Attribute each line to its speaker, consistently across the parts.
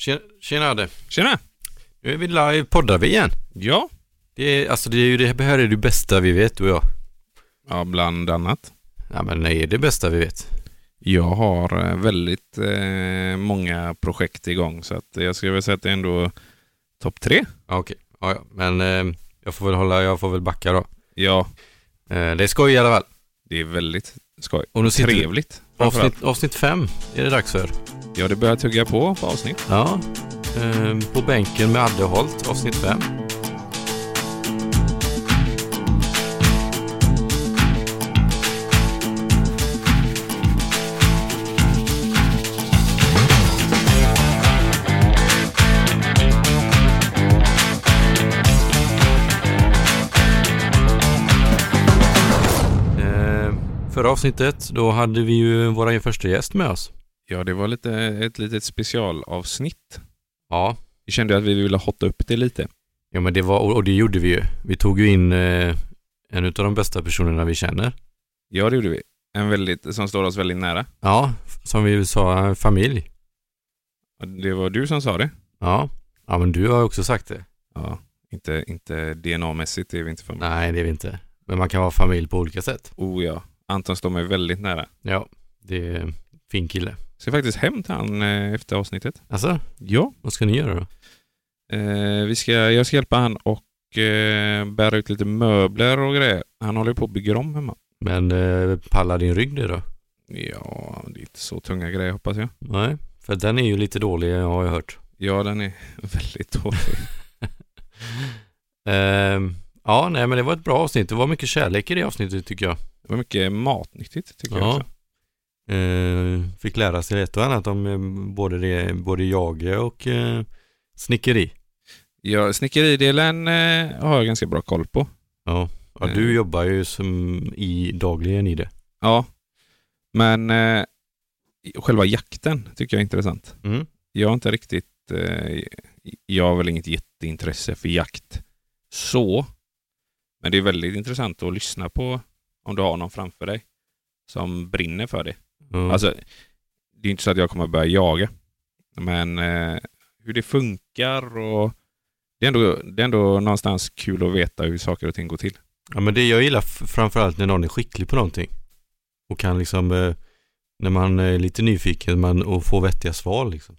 Speaker 1: Tje- Tjena Adde.
Speaker 2: Tjena!
Speaker 1: Nu är vi live, poddar vi igen.
Speaker 2: Ja,
Speaker 1: Det är, alltså det, är ju, det här är det bästa vi vet du och jag.
Speaker 2: ja bland annat.
Speaker 1: Ja men det är det bästa vi vet.
Speaker 2: Jag har eh, väldigt eh, många projekt igång så att jag skulle vilja säga att det är ändå topp tre.
Speaker 1: Ja, Okej, ja, ja. men eh, jag får väl hålla, jag får väl backa då.
Speaker 2: Ja,
Speaker 1: Eh, det är skoj i alla fall.
Speaker 2: det är väldigt skoj.
Speaker 1: Och nu sitter vi,
Speaker 2: Trevligt. framförallt.
Speaker 1: avsnitt, avsnitt fem är det dags för.
Speaker 2: Ja, det börjar tugga på på avsnitt.
Speaker 1: Ja, eh, på bänken med Adde Holt, avsnitt fem. Eh, Förra avsnittet, då hade vi ju vår första gäst med oss.
Speaker 2: Ja, det var lite, ett litet specialavsnitt.
Speaker 1: Ja,
Speaker 2: Vi kände att vi ville hotta upp det lite.
Speaker 1: Ja men det var, och och det gjorde vi ju. Vi tog ju in eh, en av de bästa personerna vi känner.
Speaker 2: Ja, det gjorde vi. En väldigt, som står oss väldigt nära.
Speaker 1: Ja, f- som vi sa, eh, familj.
Speaker 2: Och Det var du som sa det.
Speaker 1: Ja. Ja men du har också sagt det.
Speaker 2: Ja, inte, inte DNA-mässigt är vi inte för mig.
Speaker 1: Nej det är vi inte. Men man kan vara familj på olika sätt.
Speaker 2: Oh ja, Anton står mig väldigt nära.
Speaker 1: Ja, det är en fin kille.
Speaker 2: Ska faktiskt hem till han eh, efter avsnittet.
Speaker 1: Alltså,
Speaker 2: Ja.
Speaker 1: vad ska ni göra då?
Speaker 2: Eh, vi ska, jag ska hjälpa han och eh, bära ut lite möbler och grejer. Han håller ju på att bygga om hemma.
Speaker 1: Men eh, pallar din rygg det då?
Speaker 2: Ja, det är inte så tunga grejer hoppas jag.
Speaker 1: Nej, för den är ju lite dålig har jag hört.
Speaker 2: Ja, den är väldigt dålig.
Speaker 1: Ehm, ja, nej men det var ett bra avsnitt. Det var mycket kärlek i det avsnittet tycker jag.
Speaker 2: Det var mycket matnyttigt tycker jag
Speaker 1: Ja.
Speaker 2: också.
Speaker 1: Eh, fick lära sig ett och annat om eh, både, det, både jag och eh, snickeri.
Speaker 2: Ja, snickeridelen eh, har jag ganska bra koll på.
Speaker 1: Ja. ja, du
Speaker 2: Mm.
Speaker 1: jobbar ju som i dagligen i det.
Speaker 2: Ja, men eh, själva jakten tycker jag är intressant.
Speaker 1: Mm.
Speaker 2: Jag har inte riktigt, eh, jag har väl inget jätteintresse för jakt så. Men det är väldigt intressant att lyssna på om du har någon framför dig som brinner för det.
Speaker 1: Mm.
Speaker 2: Alltså, det är inte så att jag kommer börja jaga. Men eh, hur det funkar och det är, ändå, det är ändå någonstans kul att veta hur saker och ting går till.
Speaker 1: ja, men det jag gillar f- framförallt när någon är skicklig på någonting och kan liksom, eh, när man är lite nyfiken man, och får vettiga svar liksom.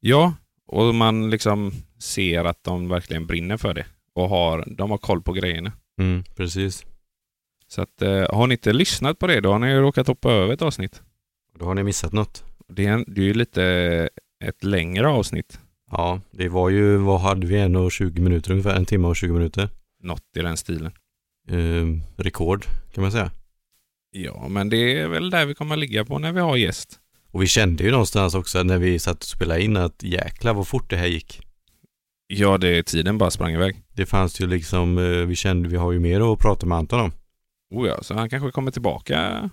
Speaker 2: Ja, och man liksom ser att de verkligen brinner för det och har, de har koll på grejerna.
Speaker 1: Mm, precis.
Speaker 2: Så att, eh, har ni inte lyssnat på det, då har ni ju råkat hoppa över ett avsnitt.
Speaker 1: Då har ni missat något.
Speaker 2: Det är, en, det är ju lite ett längre avsnitt,
Speaker 1: Ja, det var ju, vad hade vi, en och 20 minuter ungefär, en timme och 20 minuter.
Speaker 2: något i den stilen.
Speaker 1: Eh, rekord kan man säga.
Speaker 2: Ja, men det är väl där vi kommer att ligga på när vi har gäst.
Speaker 1: Och vi kände ju någonstans också när vi satt och spelade in att jäklar vad fort det här gick.
Speaker 2: Ja, det tiden bara sprang iväg.
Speaker 1: Det fanns ju liksom, eh, vi kände vi har ju mer att prata med Anton om.
Speaker 2: Oh ja, så han kanske kommer tillbaka,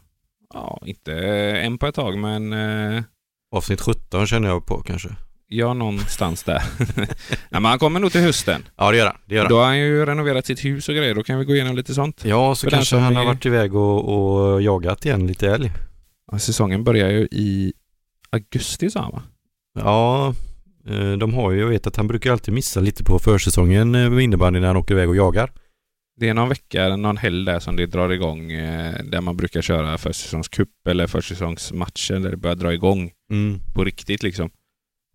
Speaker 2: ja, inte en på ett tag, men eh,
Speaker 1: Avsnitt 17 känner jag på kanske.
Speaker 2: ja, någonstans där. Nej, men han kommer nog till hösten.
Speaker 1: Ja det gör han, det gör han.
Speaker 2: Då har han ju renoverat sitt hus och grejer, då kan vi gå igenom lite sånt.
Speaker 1: Ja så
Speaker 2: För den
Speaker 1: kanske
Speaker 2: som
Speaker 1: han har
Speaker 2: är-
Speaker 1: varit iväg och, och jagat igen lite älg.
Speaker 2: Ja, Säsongen börjar ju i augusti sa han va?
Speaker 1: Ja, eh, de har ju, jag vet att han brukar alltid missa lite på försäsongen eh, med innebandy när han åker iväg och jagar.
Speaker 2: Det är någon vecka, eller någon helg där som det drar igång eh, där man brukar köra försäsongscup eller försäsongsmatcher där det börjar dra igång
Speaker 1: Mm.
Speaker 2: på riktigt liksom.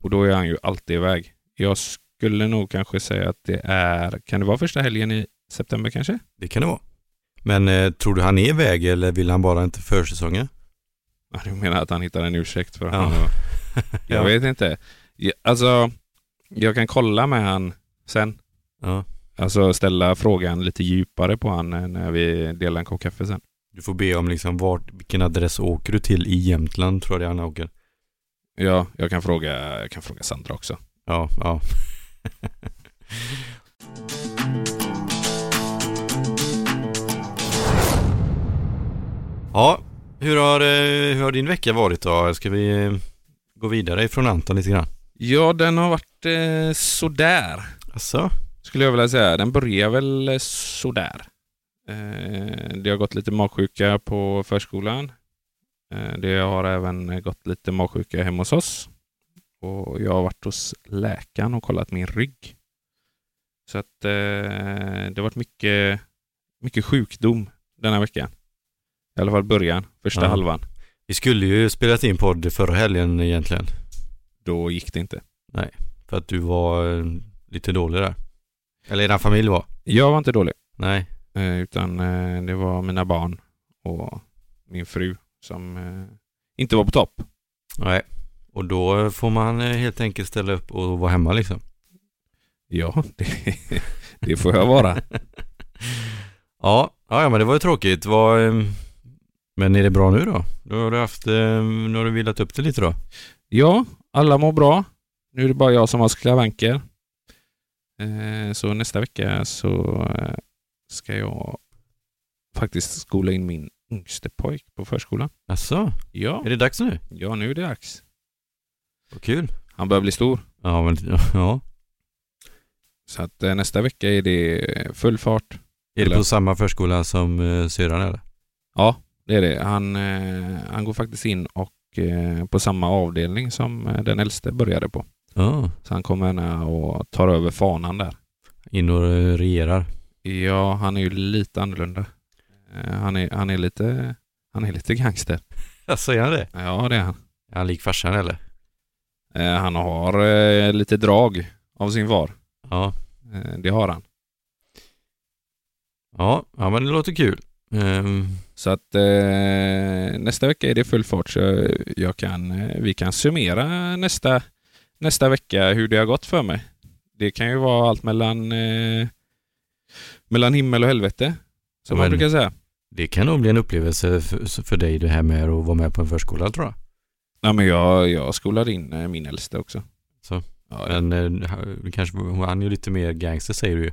Speaker 2: Och då är han ju alltid iväg. Jag skulle nog kanske säga att det är, kan det vara första helgen i september kanske?
Speaker 1: Det kan det vara. Men eh, tror du han är iväg eller vill han bara inte försäsongen?
Speaker 2: Ja, du menar att han hittar en ursäkt för
Speaker 1: Ja.
Speaker 2: honom? Jag vet inte. Ja, Alltså, jag kan kolla med han sen.
Speaker 1: Ja.
Speaker 2: Alltså ställa frågan lite djupare på han eh, när vi delar en kopp kaffe sen.
Speaker 1: Du får be om liksom vart, vilken adress åker du till i Jämtland tror jag det är han åker.
Speaker 2: Ja, jag kan fråga, jag kan fråga Sandra också.
Speaker 1: Ja, ja. ja, hur har, eh, hur har din vecka varit då? Ska vi eh, gå vidare ifrån Anton lite grann?
Speaker 2: Ja, den har varit eh, sådär,
Speaker 1: Alltså?
Speaker 2: skulle jag vilja säga. Den börjar väl eh, sådär. Eh, det har gått lite magsjuka på förskolan. Eh, det har även gått lite magsjuka hemma hos oss. Och jag har varit hos läkaren och kollat min rygg. Så att eh, det har varit mycket, mycket sjukdom den här veckan. I alla fall början, första
Speaker 1: Ja.
Speaker 2: halvan.
Speaker 1: Vi skulle ju spelat in podd förra helgen egentligen.
Speaker 2: Då gick det inte.
Speaker 1: För att du var eh, lite dålig där. Eller din familj var.
Speaker 2: Jag var inte dålig,
Speaker 1: Nej.
Speaker 2: eh, utan eh, det var mina barn och min fru som eh, inte var på topp.
Speaker 1: Nej. Och då får man eh, helt enkelt ställa upp och vara hemma liksom.
Speaker 2: Ja, det, det får jag vara.
Speaker 1: Ja, ja ja, men det var ju tråkigt. Vad, eh, men är det bra nu då? Nu har du haft, eh, nu har du vilat upp det lite då?
Speaker 2: Ja, alla mår bra. Nu är det bara jag som har skavanker. Eh, Så nästa vecka så eh, ska jag faktiskt skola in min yngste pojk på förskolan.
Speaker 1: Asså,
Speaker 2: Ja,
Speaker 1: är det dags nu?
Speaker 2: ja nu är det dags.
Speaker 1: Vad kul.
Speaker 2: Han börjar bli stor.
Speaker 1: Ja, men ja.
Speaker 2: Så att eh, nästa vecka är det full fart.
Speaker 1: Är det
Speaker 2: Eller-
Speaker 1: på samma förskola som eh, syrran eller?
Speaker 2: Ja, det är det. Han, eh, han går faktiskt in och eh, på samma avdelning som eh, den äldste började på.
Speaker 1: Ja,
Speaker 2: Så han kommer gärna och tar över fanan där.
Speaker 1: in och eh, regerar.
Speaker 2: Ja, han är ju lite annorlunda. Eh, Han är, han är, lite, han är lite gangster.
Speaker 1: Alltså är han det?
Speaker 2: Ja, det är han.
Speaker 1: Är han lik farsan eller?
Speaker 2: Eh, Han har eh, lite drag av sin far.
Speaker 1: Ja.
Speaker 2: Eh, Det har han.
Speaker 1: Ja, ja men det låter kul. Ehm,
Speaker 2: Så att eh, nästa vecka är det full fart så jag kan, eh, vi kan summera nästa, nästa vecka hur det har gått för mig. Det kan ju vara allt mellan, eh, mellan himmel och helvete. Som
Speaker 1: Ja,
Speaker 2: man
Speaker 1: men-
Speaker 2: brukar säga.
Speaker 1: det kan nog bli en upplevelse för, för dig det här med att vara med på en förskola tror jag.
Speaker 2: Ja, men jag, jag skolade in eh, min äldste också.
Speaker 1: Så.
Speaker 2: Ja,
Speaker 1: Men eh, han- kanske, han är ju lite mer gangster säger du ju.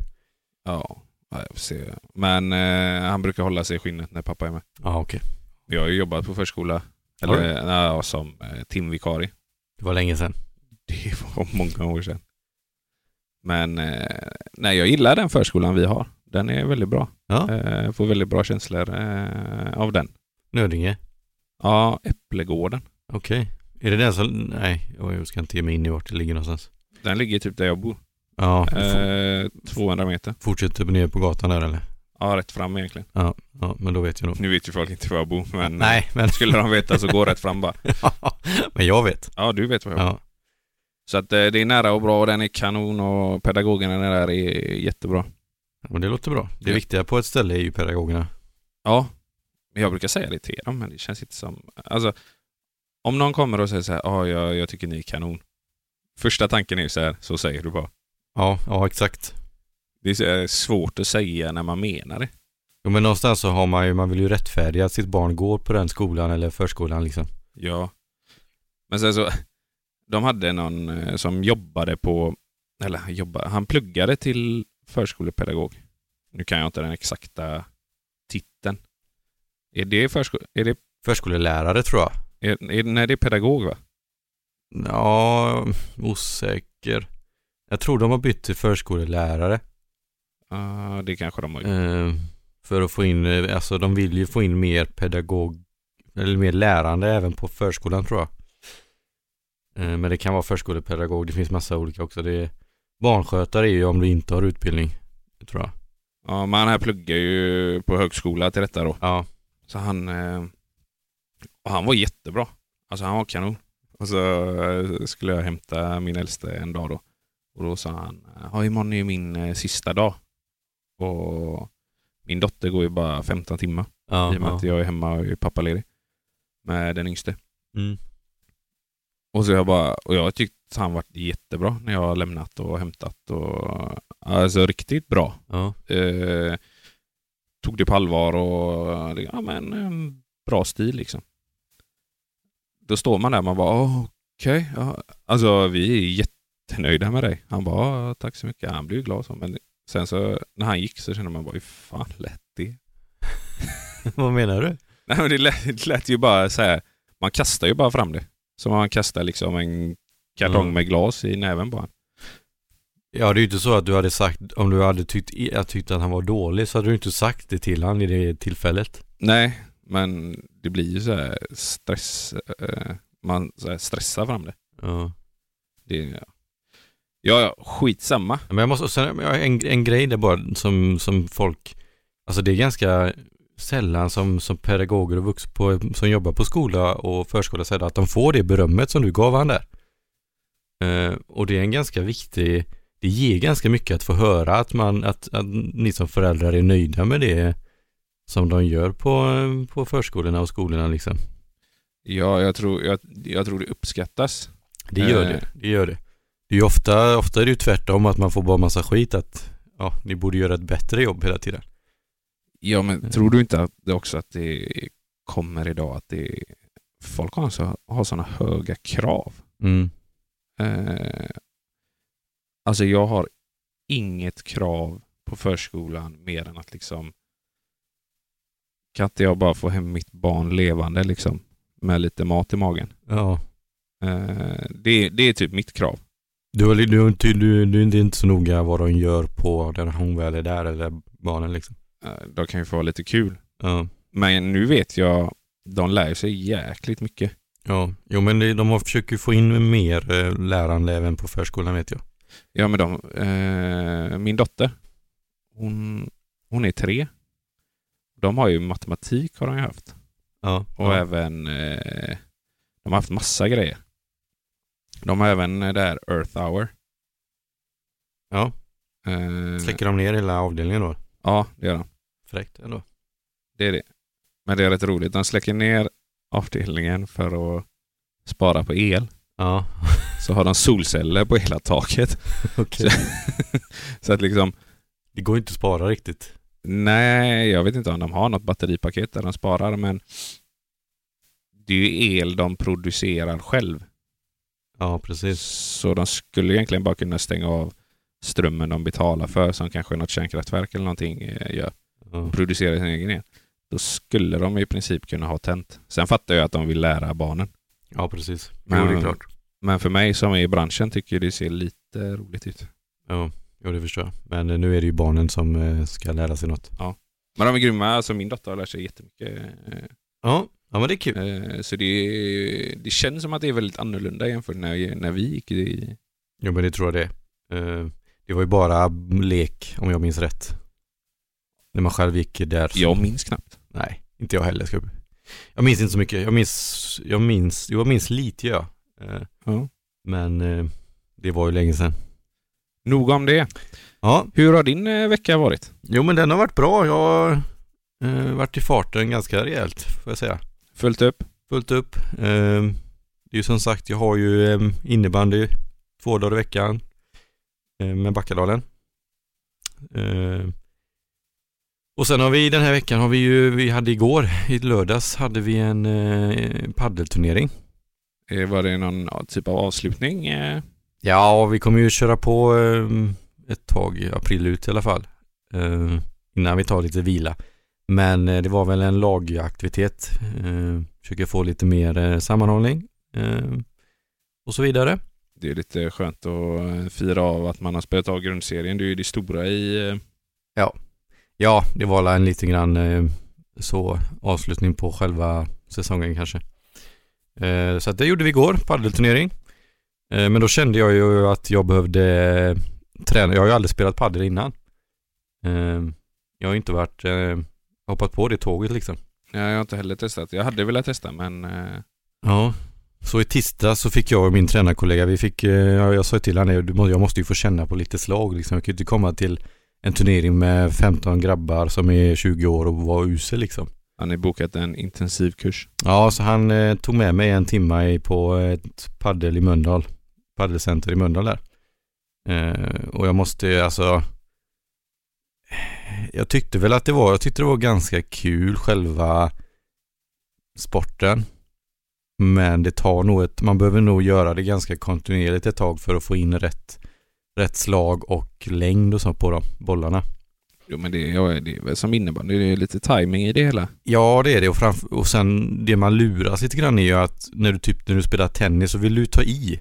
Speaker 2: Ja, ja, jag får se. Men eh, han brukar hålla sig i skinnet när pappa är med.
Speaker 1: Ja okej.
Speaker 2: Jag har ju jobbat på förskola,
Speaker 1: Har
Speaker 2: eller
Speaker 1: du?
Speaker 2: ja, som eh, timvikarie.
Speaker 1: Det var länge sedan.
Speaker 2: Det var många år sedan. Men eh, nej, jag gillar den förskolan vi har. Den är väldigt bra.
Speaker 1: Ja.
Speaker 2: Eh, får väldigt bra känslor eh, av den.
Speaker 1: Nödinge.
Speaker 2: Ja, Äpplegården.
Speaker 1: Okej. Är det den som, nej oj, jag ska inte ge mig in i vart det ligger någonstans.
Speaker 2: Den ligger typ där jag bor.
Speaker 1: Ja, du får-
Speaker 2: Eh, 200 meter.
Speaker 1: fortsätter upp ner på gatan där eller?
Speaker 2: Ja, rätt fram egentligen.
Speaker 1: Ja, ja men då vet jag nog.
Speaker 2: Nu vet ju folk inte var jag bor, men eh,
Speaker 1: Nej, men,
Speaker 2: skulle de veta så gå rätt fram bara.
Speaker 1: men jag vet.
Speaker 2: Ja, du vet var jag bor.
Speaker 1: Ja.
Speaker 2: Så att eh, det är nära och bra och den är kanon och pedagogerna där är jättebra.
Speaker 1: Men det låter bra. Det
Speaker 2: Ja.
Speaker 1: viktiga på ett ställe är ju pedagogerna.
Speaker 2: Ja, men jag brukar säga det till dem men det känns inte som... Alltså, om någon kommer och säger så här, ja, jag, jag tycker ni är kanon. Första tanken är ju så här, så säger du bara.
Speaker 1: Ja, ja exakt.
Speaker 2: Det är så här svårt att säga när man menar det.
Speaker 1: Jo men någonstans så har man ju, man vill ju rättfärdiga att sitt barn går på den skolan eller förskolan liksom.
Speaker 2: Ja. Men sen så, de hade någon eh, som jobbade på, eller han jobbade, han pluggade till förskolepedagog. Nu kan jag inte den exakta titeln. Är det, försko, är det
Speaker 1: Förskolelärare tror jag.
Speaker 2: Är, är, nej, det är pedagog va?
Speaker 1: Ja, osäker. Jag tror de har bytt till förskolelärare.
Speaker 2: Ja, det kanske de har gjort.
Speaker 1: Eh, för att få in, eh, alltså de vill ju få in mer pedagog, eller mer lärande även på förskolan tror jag. Eh, men det kan vara förskolepedagog, det finns massa olika också. Det är, barnskötare är ju om du inte har utbildning, tror jag.
Speaker 2: Ja, men han här pluggar ju på högskola till detta då.
Speaker 1: Ja,
Speaker 2: Så han, eh, och han var jättebra. Alltså han var kanon. Och så eh, skulle jag hämta min äldste en dag då. Och då sa han, ja imorgon är ju min eh, sista dag. Och min dotter går ju bara 15 timmar.
Speaker 1: ja,
Speaker 2: I och med
Speaker 1: ja.
Speaker 2: att jag är hemma och är pappaledig. Med den yngste.
Speaker 1: Mm.
Speaker 2: Och så jag bara, och jag har tyckt han varit jättebra när jag har lämnat och hämtat och alltså riktigt bra.
Speaker 1: ja.
Speaker 2: Eh, tog det på allvar och ja men en bra stil liksom. Då står man där man bara "Åh, okej, ja. alltså vi är jättenöjda med dig. Han bara "Ja, tack så mycket, han blev ju glad så. Men sen så när han gick så kände man bara hur fan lät det?
Speaker 1: Vad menar du?
Speaker 2: Nej men det lät, det lät ju bara så här, man kastar ju bara fram det. Som om man kastar liksom en kartong
Speaker 1: Mm.
Speaker 2: med glas i näven bara.
Speaker 1: Ja, det är ju inte så att du hade sagt, om du hade tyckt, jag tyckte att han var dålig så hade du inte sagt det till han i det tillfället.
Speaker 2: Nej, men det blir ju så här stress. eh, Man så här stressar fram det.
Speaker 1: Ja.
Speaker 2: Det, ja. ja, ja, skitsamma.
Speaker 1: Men jag måste, och sen, jag har en, en grej där bara som, som folk, alltså det är ganska sällan som, som pedagoger och vux på, som jobbar på skola och förskola säger att de får det berömmet som du gav han där. Eh, och det är en ganska viktig, det ger ganska mycket att få höra att man, att, att ni som föräldrar är nöjda med det som de gör på, på förskolorna och skolorna liksom.
Speaker 2: Ja, jag tror, jag, jag tror det uppskattas.
Speaker 1: Det gör
Speaker 2: Eh.
Speaker 1: det, det gör det. Det är ju ofta, ofta är det ju tvärtom att man får bara massa skit att ja, ni borde göra ett bättre jobb hela tiden.
Speaker 2: Ja, men
Speaker 1: Mm.
Speaker 2: tror du inte att det också att det kommer idag att det folk har, så, har sådana höga krav?
Speaker 1: Mm.
Speaker 2: Eh, alltså jag har inget krav på förskolan mer än att liksom kan inte jag bara få hem mitt barn levande liksom med lite mat i magen?
Speaker 1: Ja.
Speaker 2: Eh, det, det är typ mitt krav.
Speaker 1: Du, har li- du, har inte- du, du är inte så noga vad de gör på när hon väl är där eller barnen liksom.
Speaker 2: Eh, de kan ju få ha lite kul.
Speaker 1: Ja.
Speaker 2: Men nu vet jag, de lär sig jäkligt mycket.
Speaker 1: Ja, jo men det, de har försöker få in mer eh, lärande även på förskolan vet jag.
Speaker 2: Ja, men de, eh, min dotter, hon, hon är tre. De har ju matematik har de ju haft.
Speaker 1: Ja.
Speaker 2: Och
Speaker 1: ja.
Speaker 2: även, eh, de har haft massa grejer. De har även eh, det här Earth Hour.
Speaker 1: ja.
Speaker 2: Eh,
Speaker 1: Släcker de ner hela avdelningen då?
Speaker 2: ja, det gör de.
Speaker 1: Fräckt ändå.
Speaker 2: Det är det. Men det är rätt roligt. De släcker ner avdelningen för att spara på el.
Speaker 1: Ja,
Speaker 2: Så har de solceller på hela taket.
Speaker 1: okej.
Speaker 2: Så att liksom,
Speaker 1: Det går inte att spara riktigt.
Speaker 2: Nej, jag vet inte om de har något batteripaket där de sparar, men det är ju el de producerar själv.
Speaker 1: Ja, precis.
Speaker 2: Så de skulle egentligen bara kunna stänga av strömmen de betalar för, som kanske något kärnkraftverk eller någonting eh, gör,
Speaker 1: Ja.
Speaker 2: och producerar sin egen el. Då skulle de i princip kunna ha tänt. Sen fattar jag att de vill lära barnen.
Speaker 1: Ja, precis. Jo,
Speaker 2: Men-
Speaker 1: det är klart.
Speaker 2: Men för mig som är i branschen tycker jag det ser lite roligt ut.
Speaker 1: Ja, jo, det förstår jag. Men eh, nu är det ju barnen som eh, ska lära sig något.
Speaker 2: Men de är grymma. Alltså min dotter har lärt sig jättemycket. eh,
Speaker 1: Ja, ja men det är kul.
Speaker 2: Eh, Så det, det känns som att det är väldigt annorlunda jämfört när, när vi gick i...
Speaker 1: Jo, men det tror jag det är. Eh, Det var ju bara lek, om jag minns rätt. När man själv gick där. så-
Speaker 2: Jag minns knappt.
Speaker 1: Nej, inte jag heller. Ska jag... jag minns inte så mycket. Jag minns, jag minns, jo, jag minns lite ja. Eh,
Speaker 2: Ja.
Speaker 1: Men eh, det var ju länge sedan.
Speaker 2: Nog om det.
Speaker 1: Ja,
Speaker 2: Hur har din eh, vecka varit?
Speaker 1: jo men den har varit bra. Jag har eh, varit i farten ganska rejält får jag säga.
Speaker 2: Följt upp?
Speaker 1: Fullt upp. Eh, det är ju som sagt, jag har ju eh, innebandy två dagar i veckan eh, med Backadalen. Eh, och sen har vi den här veckan har vi ju, vi hade igår, i lördags hade vi en eh, paddelturnering.
Speaker 2: Eh, Var det någon ja, typ av avslutning? Eh,
Speaker 1: Ja, vi kommer ju köra på eh, ett tag, april ut i alla fall. Eh, innan vi tar lite vila. Men eh, det var väl en lagaktivitet. Eh, försöker få lite mer eh, sammanhållning. Eh, och så vidare.
Speaker 2: Det är lite skönt att eh, fira av att man har spelat av grundserien. Det är ju det stora i... eh,
Speaker 1: Ja, det var väl en lite grann eh, så avslutning på själva säsongen kanske. Eh, så att det gjorde vi igår, paddelturnering. Eh, men då kände jag ju att jag behövde eh, träna. Jag har ju aldrig spelat paddel innan. Eh, jag har ju inte varit, eh, hoppat på det tåget liksom.
Speaker 2: Ja, jag har inte heller testat. Jag hade velat testa men... eh,
Speaker 1: Ja. Så i tisdag så fick jag och min tränarkollega, vi fick, eh, ja, jag sa till honom, "Du må- jag måste ju få känna på lite slag liksom. Jag kan ju inte komma till en turnering med 15 grabbar som är 20 år och vara usel liksom.
Speaker 2: Han har bokat en intensiv kurs.
Speaker 1: Ja, så han eh, tog med mig en timma i, på ett paddel i Mölndal. Paddelcenter i Mölndal där. Eh, och jag måste ju, alltså jag tyckte väl att det var, jag tyckte det var ganska kul själva sporten. Men det tar nog ett, man behöver nog göra det ganska kontinuerligt ett tag för att få in rätt, rätt slag och längd och så på dem, bollarna.
Speaker 2: Jo men det, ja, det är väl som innebandy. Det är lite timing i det hela.
Speaker 1: Ja, det är det. Och, framför, och sen det man luras lite grann är ju att när du, typ, när du spelar tennis så vill du ta i.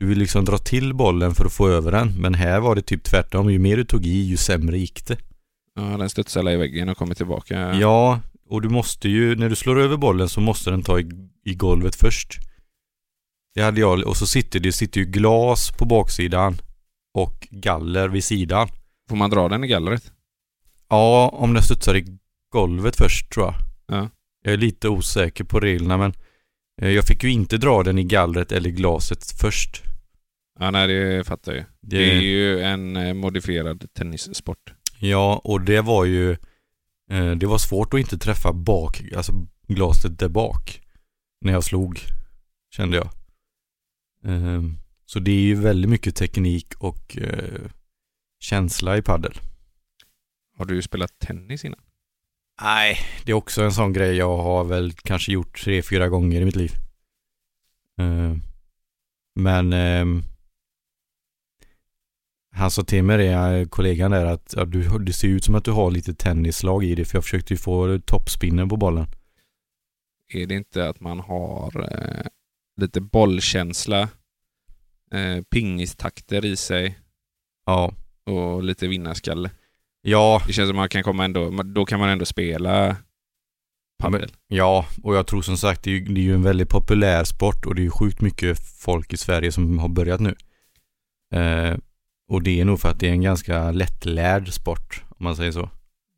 Speaker 1: Du vill liksom dra till bollen för att få över den. Men här var det typ tvärtom. Ju mer du tog i, ju sämre gick det.
Speaker 2: Ja, den studsar i väggen och kommer tillbaka.
Speaker 1: Ja, och du måste ju, när du slår över bollen så måste den ta i, i golvet först. Det hade jag och så sitter det sitter ju glas på baksidan och galler vid sidan.
Speaker 2: Får man dra den i gallret?
Speaker 1: Ja, om den studsar i golvet först tror jag.
Speaker 2: Ja.
Speaker 1: Jag är lite osäker på reglerna men eh, jag fick ju inte dra den i gallret eller glaset först.
Speaker 2: Ja, nej, det fattar jag ju.
Speaker 1: Det,
Speaker 2: Det är ju en eh, modifierad tennissport.
Speaker 1: Ja, och det var ju eh, Det var svårt att inte träffa bak, alltså glaset där bak. När jag slog, kände jag. Eh, så det är ju väldigt mycket teknik och eh, känsla i paddel.
Speaker 2: Har du spelat tennis innan?
Speaker 1: Nej, det är också en sån grej jag har väl kanske gjort tre, fyra gånger i mitt liv. Eh, men ehm, han sa till mig det, eh, kollegan där, att ja, du, det ser ut som att du har lite tennislag i dig för jag försökte ju få toppspinnen på bollen.
Speaker 2: Är det inte att man har eh, lite bollkänsla, eh, pingistakter i sig
Speaker 1: Ja,
Speaker 2: och lite vinnarskalle?
Speaker 1: ja,
Speaker 2: Det känns som att man kan komma ändå, man- då kan man ändå spela padel.
Speaker 1: ja och jag tror som sagt det är, ju, det är ju en väldigt populär sport och det är ju sjukt mycket folk i Sverige som har börjat nu. Eh, och det är nog för att det är en ganska lättlärd sport om man säger så.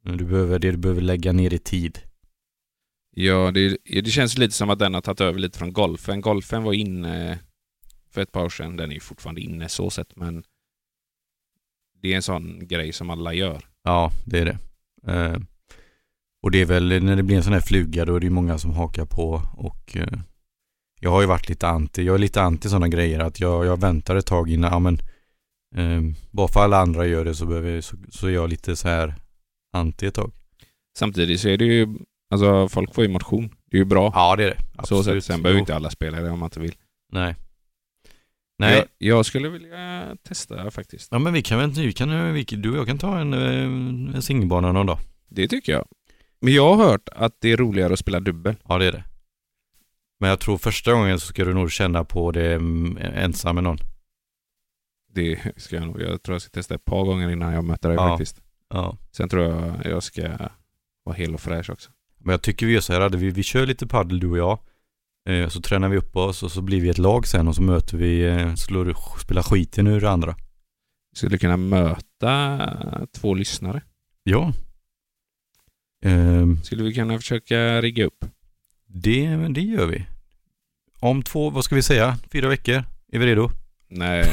Speaker 1: Men Du behöver det du behöver lägga ner i tid.
Speaker 2: Ja, det, det känns lite som att den har tagit över lite från golfen. Golfen var inne för ett par år sedan. Den är ju fortfarande inne så sett, men det är en sån grej som alla gör.
Speaker 1: Ja, det är det. Eh, och det är väl när det blir en sån här fluga då är det ju många som hakar på och eh, jag har ju varit lite anti, jag är lite anti sådana grejer att jag, jag väntar ett tag innan, ja men eh, bara för alla andra gör det så, behöver, jag- så, så är jag lite så här anti ett tag.
Speaker 2: Samtidigt så är det ju, alltså folk får ju motion. Det är ju bra.
Speaker 1: Ja det är det.
Speaker 2: så sett, sen behöver
Speaker 1: Jo,
Speaker 2: ju inte alla spela det om man inte vill.
Speaker 1: Nej. Nej,
Speaker 2: Nej. Jag, jag skulle vilja testa faktiskt.
Speaker 1: ja men vi kan väl, vi kan, vi, du och jag kan ta en, eh, en singelbana någon dag.
Speaker 2: Det tycker jag. Men jag har hört att det är roligare att spela dubbel.
Speaker 1: Ja det är det. Men jag tror första gången så ska du nog känna på det mm, ensam med någon.
Speaker 2: Det ska jag nog. Jag tror jag ska testa ett par gånger innan jag möter dig
Speaker 1: Ja.
Speaker 2: faktiskt.
Speaker 1: Ja.
Speaker 2: Sen tror jag jag ska vara hel och fräsch också.
Speaker 1: Men jag tycker vi gör så här, Adde, vi, vi kör lite paddel du och jag. Eh, så tränar vi upp oss och så blir vi ett lag sen och så möter vi, eh, slår, spelar skiten ur det andra.
Speaker 2: skulle kunna möta två lyssnare.
Speaker 1: Ja. Ehm,
Speaker 2: Skulle vi kunna försöka rigga upp?
Speaker 1: det, men det gör vi. Om två, vad ska vi säga, fyra veckor? Är vi redo?
Speaker 2: Nej.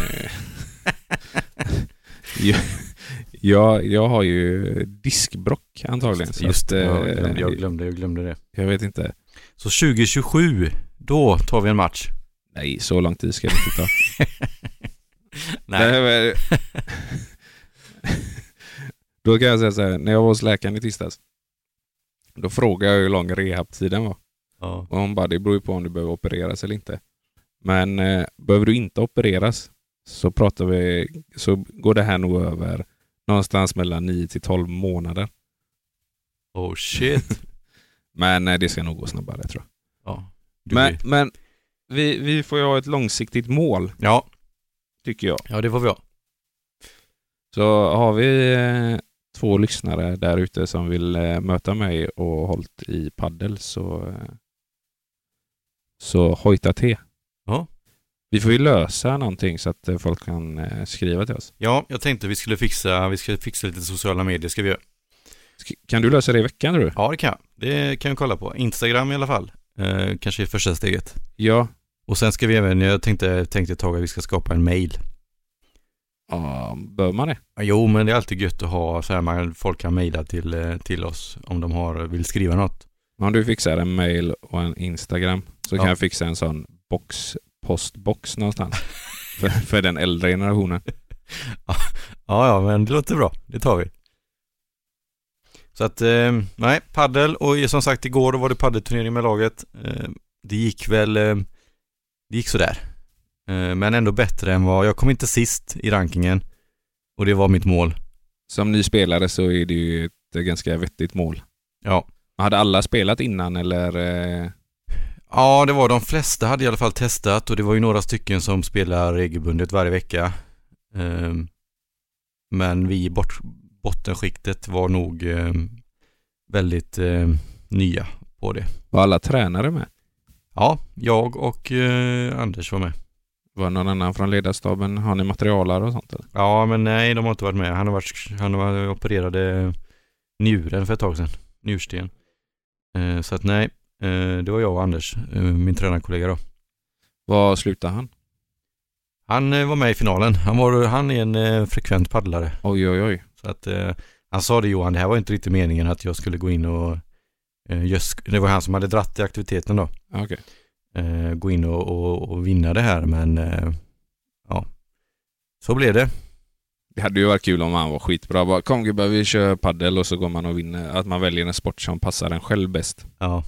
Speaker 2: jag, jag, jag har ju diskbrock antagligen. Så
Speaker 1: Just
Speaker 2: att,
Speaker 1: det, jag
Speaker 2: eh,
Speaker 1: glömde, jag glömde, jag glömde det.
Speaker 2: jag vet inte.
Speaker 1: Så 2027, då tar vi en match.
Speaker 2: Nej, så lång tid ska det inte ta.
Speaker 1: Nej.
Speaker 2: men- då kan jag säga så här, när jag var hos läkaren i tisdags, då frågade jag hur lång rehabtiden var.
Speaker 1: Ja.
Speaker 2: Och hon bara, det beror ju på om du behöver opereras eller inte. Men eh, behöver du inte opereras så pratar vi, så går det här nog över någonstans mellan 9 till 12 månader.
Speaker 1: Oh shit.
Speaker 2: Men eh, det ska nog gå snabbare tror jag.
Speaker 1: Ja. Du-
Speaker 2: Men, men vi, vi får ju ha ett långsiktigt mål,
Speaker 1: ja.
Speaker 2: tycker jag.
Speaker 1: ja, det får vi ha.
Speaker 2: Så har vi eh, två lyssnare där ute som vill eh, möta mig och hållt i paddel så, eh, så hojta till.
Speaker 1: Ja.
Speaker 2: Vi får ju lösa någonting så att eh, folk kan eh, skriva till oss.
Speaker 1: Ja, jag tänkte vi skulle fixa, vi ska fixa lite sociala medier ska vi göra.
Speaker 2: Sk- Kan du lösa det i veckan tror du?
Speaker 1: Ja, det kan jag. Det kan jag kolla på. Instagram i alla fall. Eh, kanske är första steget.
Speaker 2: Ja.
Speaker 1: Och sen ska vi även, jag tänkte, tänkte ett tag att vi ska skapa en mail.
Speaker 2: ja bör man det?
Speaker 1: Ja, Jo, men det är alltid gött att ha så här, man, folk kan mejla till, eh, till oss om de har, vill skriva något.
Speaker 2: Om du fixar en mail och en Instagram så kan
Speaker 1: Ja.
Speaker 2: jag fixa en sån box, postbox någonstans. för, för den äldre generationen.
Speaker 1: Ja, ja, men det låter bra. Det tar vi. Så att, eh, nej, paddel och som sagt igår då var det paddelturnering med laget. Eh, det gick väl, eh, det gick sådär. Eh, men ändå bättre än vad, jag kom inte sist i rankingen. Och det var mitt mål.
Speaker 2: Som ny spelare så är det ju ett eh, ganska vettigt mål.
Speaker 1: Ja.
Speaker 2: Hade alla spelat innan eller? eh,
Speaker 1: Ja, det var de flesta hade i alla fall testat och det var ju några stycken som spelar regelbundet varje vecka. Ehm, men vi i bort, bottenskiktet var nog ehm, väldigt ehm, nya på det.
Speaker 2: Var alla tränare med?
Speaker 1: Ja, jag och eh, Anders var med.
Speaker 2: Var det någon annan från ledarstaben? Har ni materialare och sånt? Eller?
Speaker 1: Ja, men nej, de har inte varit med. Han har varit, han har opererade njuren för ett tag sedan. Njursten. Eh, så att nej, eh, det var jag och Anders, eh, min tränarkollega då.
Speaker 2: Var slutar han?
Speaker 1: Han eh, var med i finalen. Han, var, han är en eh, frekvent paddlare.
Speaker 2: Oj, oj, oj.
Speaker 1: Så att eh, han sa det Johan, det här var inte riktigt meningen att jag skulle gå in och eh, just, det var han som hade dratt i aktiviteten då.
Speaker 2: Okej.
Speaker 1: eh, gå in och, och, och vinna det här men eh, ja, så blev det.
Speaker 2: Det hade ju varit kul om han var skitbra. Bara, Kom gubbar, vi kör paddel och så går man och vinner. Att man väljer en sport som passar en själv bäst.
Speaker 1: Ja.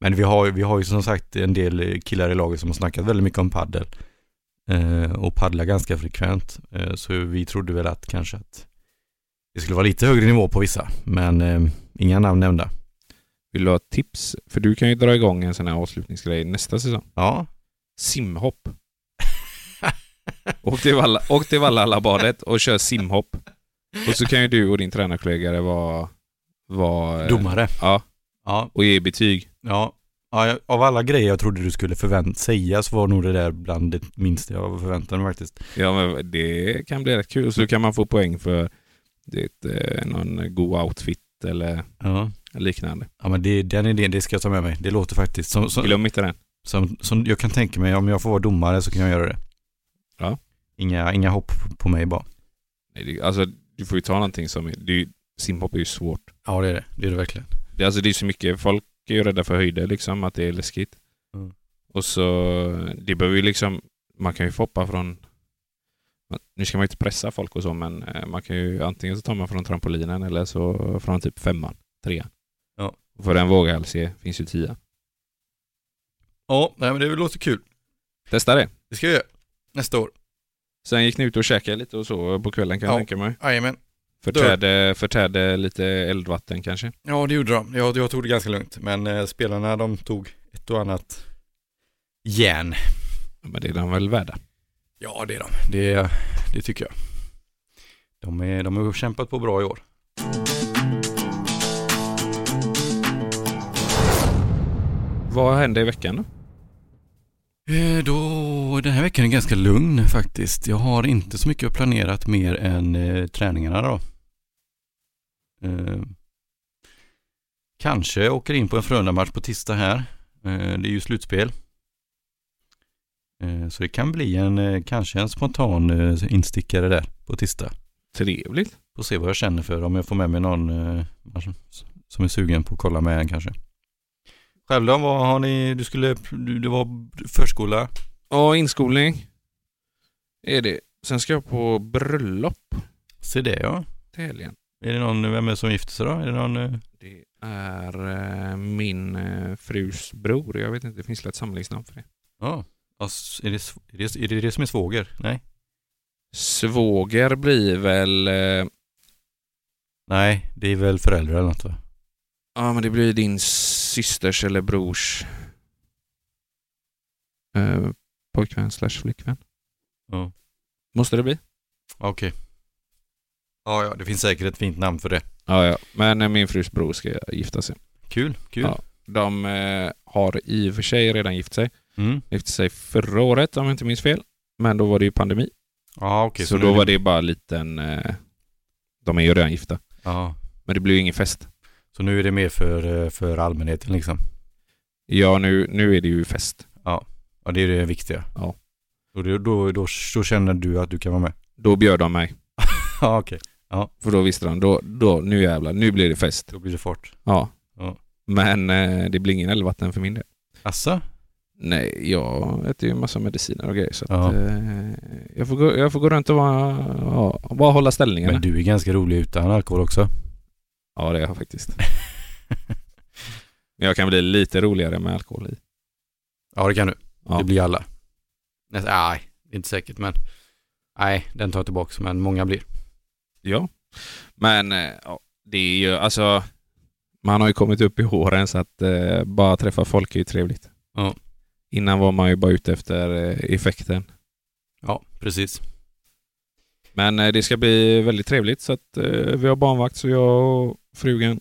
Speaker 1: Men vi har, ju- vi har ju som sagt en del killar i laget som har snackat väldigt mycket om paddel eh, och paddlar ganska frekvent. Eh, så vi trodde väl att kanske att det skulle vara lite högre nivå på vissa men eh, inga namn nämnda.
Speaker 2: Vill du ha tips? För du kan ju dra igång en sån här avslutningsgrej nästa säsong.
Speaker 1: Ja,
Speaker 2: Simhopp. Åk till, Valla, åk till Vallhallabadet och kör simhopp. Och så kan ju du och din tränarkollega vara... vara
Speaker 1: domare.
Speaker 2: Ja,
Speaker 1: Ja,
Speaker 2: och ge betyg.
Speaker 1: ja. ja, jag- av alla grejer jag trodde du skulle förvänt- säga så var nog det där bland det minsta jag förväntade mig faktiskt.
Speaker 2: Ja, men det kan bli rätt kul. Så kan man få poäng för det, eh, någon god outfit eller
Speaker 1: Ja.
Speaker 2: liknande.
Speaker 1: Ja men det, den idén, det ska jag ta med mig. Det låter faktiskt som, som,
Speaker 2: Glöm inte den.
Speaker 1: som, som jag kan tänka mig, om jag får vara domare så kan jag göra det.
Speaker 2: Ja.
Speaker 1: Inga, inga hopp på mig bara.
Speaker 2: Nej, det, alltså, du får ju ta någonting som... Det är, ju- simhopp är ju svårt.
Speaker 1: Ja det är det, det är det verkligen.
Speaker 2: Det, alltså, det är så mycket... Folk är ju rädda för höjder, liksom, att det är läskigt.
Speaker 1: Mm.
Speaker 2: Och så... Det behöver ju liksom... Man kan ju få hoppa från... man- Nu ska man ju inte pressa folk och så, men eh, man kan ju antingen så tar man från trampolinen eller så från typ femman, trean.
Speaker 1: Ja.
Speaker 2: För en våghalsig finns ju tian.
Speaker 1: Ja, nej, men det låter kul.
Speaker 2: Testa det.
Speaker 1: Det ska jag göra. Nästa år.
Speaker 2: Sen gick ni ut och käkade lite och så på kvällen kan
Speaker 1: Ja.
Speaker 2: jag tänka mig.
Speaker 1: Jajamän.
Speaker 2: Förtärde, förtärde lite eldvatten kanske.
Speaker 1: Ja det gjorde de. Jag, jag tog det ganska lugnt. Men eh, spelarna de tog ett och annat järn.
Speaker 2: Ja, Men det är de väl värda.
Speaker 1: Ja det är de. Det, det tycker jag. De, är, de har kämpat på bra i år.
Speaker 2: Vad hände i veckan då?
Speaker 1: Eh, Då, den här veckan är ganska lugn faktiskt. Jag har inte så mycket planerat mer än eh, träningarna då. Eh, kanske jag åker in på en Frölunda-match på tisdag här. Eh, det är ju slutspel. Eh, så det kan bli en, eh, kanske en spontan eh, instickare där på tisdag.
Speaker 2: Trevligt.
Speaker 1: Får se vad jag känner för om jag får med mig någon eh, som- som är sugen på att kolla med en kanske. Själv då, vad har ni, du skulle, du, det var förskola?
Speaker 2: Ja, inskolning. Är det. Sen ska jag på bröllop
Speaker 1: Se det ja.
Speaker 2: till helgen.
Speaker 1: Är det någon, vem är det som gifter sig då? Är det någon? eh,
Speaker 2: Det är eh, min eh, frus bror. Jag vet inte, det finns väl ett samlingsnamn för det.
Speaker 1: Ja. Ass- Är det, sv- är, det, är det det som är svåger? Nej.
Speaker 2: Svåger blir väl... eh,
Speaker 1: Nej, det är väl föräldrar eller något va?
Speaker 2: Ja, men det blir din systers eller brors eh, pojkvän slash flickvän.
Speaker 1: Ja.
Speaker 2: Måste det bli?
Speaker 1: Okej. Ja, ja, det finns säkert ett fint namn för det.
Speaker 2: Ja, ja. Men eh, min frus bror ska gifta sig.
Speaker 1: Kul, kul.
Speaker 2: Ja. De eh, har i och för sig redan gift sig.
Speaker 1: Mm.
Speaker 2: Gifte sig förra året om jag inte minns fel. Men då var det ju pandemi.
Speaker 1: Ja, okej.
Speaker 2: så
Speaker 1: eh, nu
Speaker 2: då
Speaker 1: är
Speaker 2: var det bara en liten... Eh, de är ju redan gifta.
Speaker 1: Ja.
Speaker 2: Men det blir ju ingen fest.
Speaker 1: Så nu är det mer för, eh, för allmänheten liksom.
Speaker 2: Ja, nu, nu är det ju fest.
Speaker 1: Ja, det är det viktiga.
Speaker 2: Ja.
Speaker 1: Och det, då, då, då känner du att du kan vara med?
Speaker 2: Då bjöd de mig.
Speaker 1: Ja, okej.
Speaker 2: För då visste de, då, då, nu jävlar, nu blir det fest.
Speaker 1: Då blir det fart.
Speaker 2: Ja.
Speaker 1: Ja.
Speaker 2: Men eh, det blir ingen älgvatten för min del.
Speaker 1: Asså?
Speaker 2: Nej, jag äter ju en massa mediciner och grejer. Så
Speaker 1: Ja.
Speaker 2: att, eh, jag, får gå, jag får gå runt och bara, ja, bara hålla ställningarna.
Speaker 1: Men du är ganska rolig utan alkohol också.
Speaker 2: Ja, det är jag faktiskt. Men jag kan bli lite roligare med alkohol i.
Speaker 1: Ja, det kan du.
Speaker 2: Ja.
Speaker 1: Det blir alla. Nästa, nej, det är inte säkert men. Nej, den tar jag tillbaka men många blir.
Speaker 2: ja. Men eh, ja, det är ju alltså... Man har ju kommit upp i håren så att eh, bara träffa folk är ju trevligt.
Speaker 1: Ja.
Speaker 2: Innan var man ju bara ute efter eh, effekten.
Speaker 1: Ja, precis.
Speaker 2: Men eh, det ska bli väldigt trevligt så att eh, vi har barnvakt så jag och frugan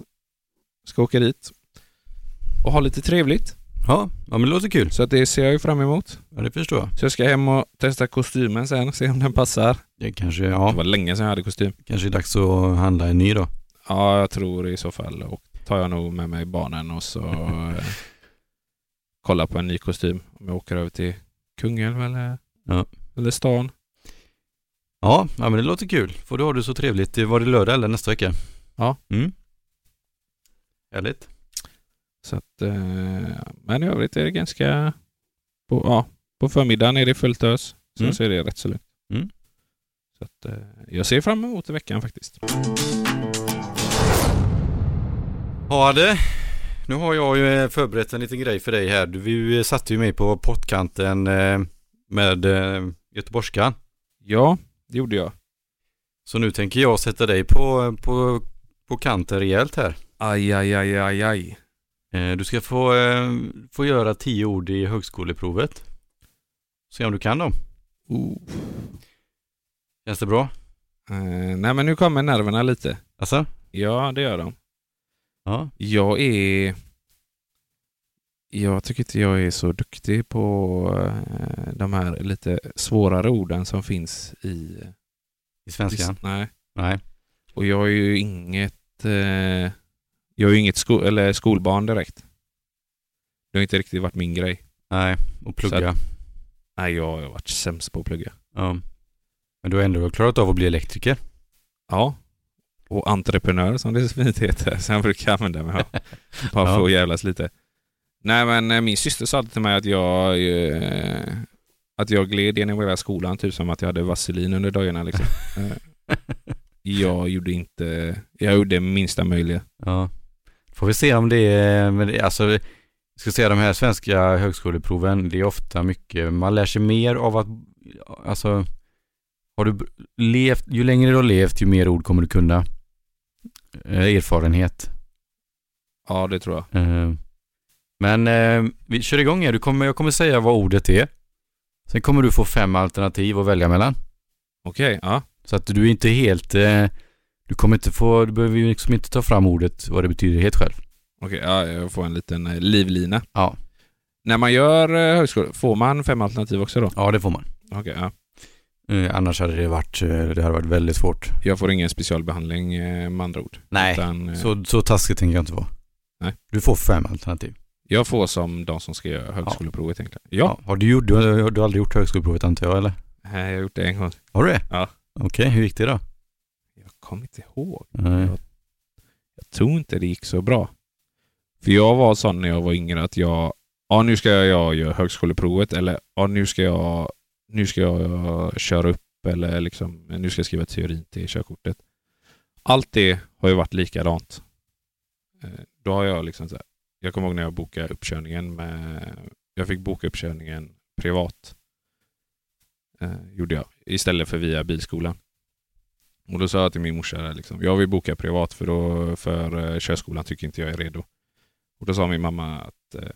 Speaker 2: ska åka dit och ha lite trevligt.
Speaker 1: Ja, ja men det låter kul.
Speaker 2: Så att det ser jag ju fram emot.
Speaker 1: Ja, det förstår jag.
Speaker 2: Så jag ska hem och testa kostymen sen, se om den passar.
Speaker 1: Det kanske,
Speaker 2: Det
Speaker 1: ja,
Speaker 2: var länge sedan jag hade kostym.
Speaker 1: kanske är dags att handla en ny då.
Speaker 2: Ja, jag tror i så fall. Och tar jag nog med mig barnen och så eh, kollar på en ny kostym. Om jag åker över till Kungälv eller,
Speaker 1: Ja.
Speaker 2: eller stan.
Speaker 1: Ja, ja men det låter kul. Får du ha det så trevligt. Det Var det lördag eller nästa vecka?
Speaker 2: Ja.
Speaker 1: Mm. Härligt.
Speaker 2: Så att, eh, men i övrigt är det ganska... På, ja, på förmiddagen är det fullt ös. Sen
Speaker 1: Mm.
Speaker 2: så är det rätt så lugnt.
Speaker 1: Mm.
Speaker 2: Så att, eh, jag ser fram emot veckan faktiskt.
Speaker 1: Ja det. Nu har jag ju eh, förberett en liten grej för dig här. Du vi eh, satte ju mig på pottkanten eh, med eh, göteborgskan.
Speaker 2: Ja, det gjorde jag.
Speaker 1: Så nu tänker jag sätta dig på, på, på kanten rejält här.
Speaker 2: Aj, aj, aj, aj, aj.
Speaker 1: Eh, Du ska få, eh, få göra tio ord i högskoleprovet. Se om du kan dem.
Speaker 2: Oh.
Speaker 1: Känns det bra?
Speaker 2: Eh, nej, men nu kommer nerverna lite.
Speaker 1: Alltså?
Speaker 2: Ja, det gör de.
Speaker 1: Ja.
Speaker 2: Jag är... Jag tycker inte jag är så duktig på eh, de här lite svårare orden som finns i...
Speaker 1: I svenskan?
Speaker 2: Nej.
Speaker 1: Nej.
Speaker 2: Och jag är ju inget... Eh, jag är ju inget sko- eller skolbarn direkt. Det har inte riktigt varit min grej.
Speaker 1: Nej. Och
Speaker 2: Så
Speaker 1: plugga.
Speaker 2: Nej, jag har varit sämst på att plugga.
Speaker 1: Ja. Men du har ändå klarat av att bli elektriker.
Speaker 2: Ja. Och entreprenör som det så fint heter, som jag brukar använda mig av. Bara
Speaker 1: Ja.
Speaker 2: för att jävlas lite. Nej men eh, min syster sa alltid till mig att jag, eh, att jag gled genom hela skolan, typ som att jag hade vaselin under dagarna liksom. Eh, jag gjorde inte, jag gjorde minsta möjliga.
Speaker 1: Ja. Får vi se om det är, men det, alltså, jag ska säga de här svenska högskoleproven, det är ofta mycket, man lär sig mer av att, alltså, har du levt, ju längre du har levt, ju mer ord kommer du kunna. Eh, erfarenhet.
Speaker 2: Ja det tror jag.
Speaker 1: Eh, men eh, vi kör igång här, du kommer, jag kommer säga vad ordet är. Sen kommer du få fem alternativ att välja mellan.
Speaker 2: Okej, ja.
Speaker 1: Så att du är inte helt, eh, du kommer inte få, du behöver ju liksom inte ta fram ordet vad det betyder helt själv.
Speaker 2: Okej, ja, jag får en liten eh, livlina.
Speaker 1: Ja.
Speaker 2: När man gör eh, högskola, får man fem alternativ också då?
Speaker 1: Ja, det får man.
Speaker 2: Okej, ja.
Speaker 1: Eh, annars hade det varit, eh, det hade varit väldigt svårt.
Speaker 2: Jag får ingen specialbehandling eh, med andra ord.
Speaker 1: Nej,
Speaker 2: Utan, eh,
Speaker 1: så, så taskigt tänker jag inte vara.
Speaker 2: Nej.
Speaker 1: Du får fem alternativ.
Speaker 2: Jag får som de som ska göra högskoleprovet egentligen. Ja,
Speaker 1: Har du, gjort, du, har- du har aldrig gjort högskoleprovet antar jag eller?
Speaker 2: Nej, jag har gjort det en gång.
Speaker 1: Har du det?
Speaker 2: Ja.
Speaker 1: Okej, hur gick det då?
Speaker 2: Jag kommer inte ihåg.
Speaker 1: Nej.
Speaker 2: Ja. Jag tror inte det gick så bra. För jag var sån när jag var yngre att jag, ja nu ska jag, jag göra högskoleprovet eller ja nu ska jag, nu ska jag, köra upp eller liksom, nu ska jag skriva teorin till körkortet. Allt det har ju varit likadant. Eh, Då har jag liksom så här, jag kommer ihåg när jag bokade uppkörningen med, jag fick boka uppkörningen privat. Eh, gjorde jag, istället för via bilskolan. Och då sa jag till min morsa, där liksom, jag vill boka privat för, då, för eh, körskolan tycker inte jag är redo. Och då sa min mamma att eh,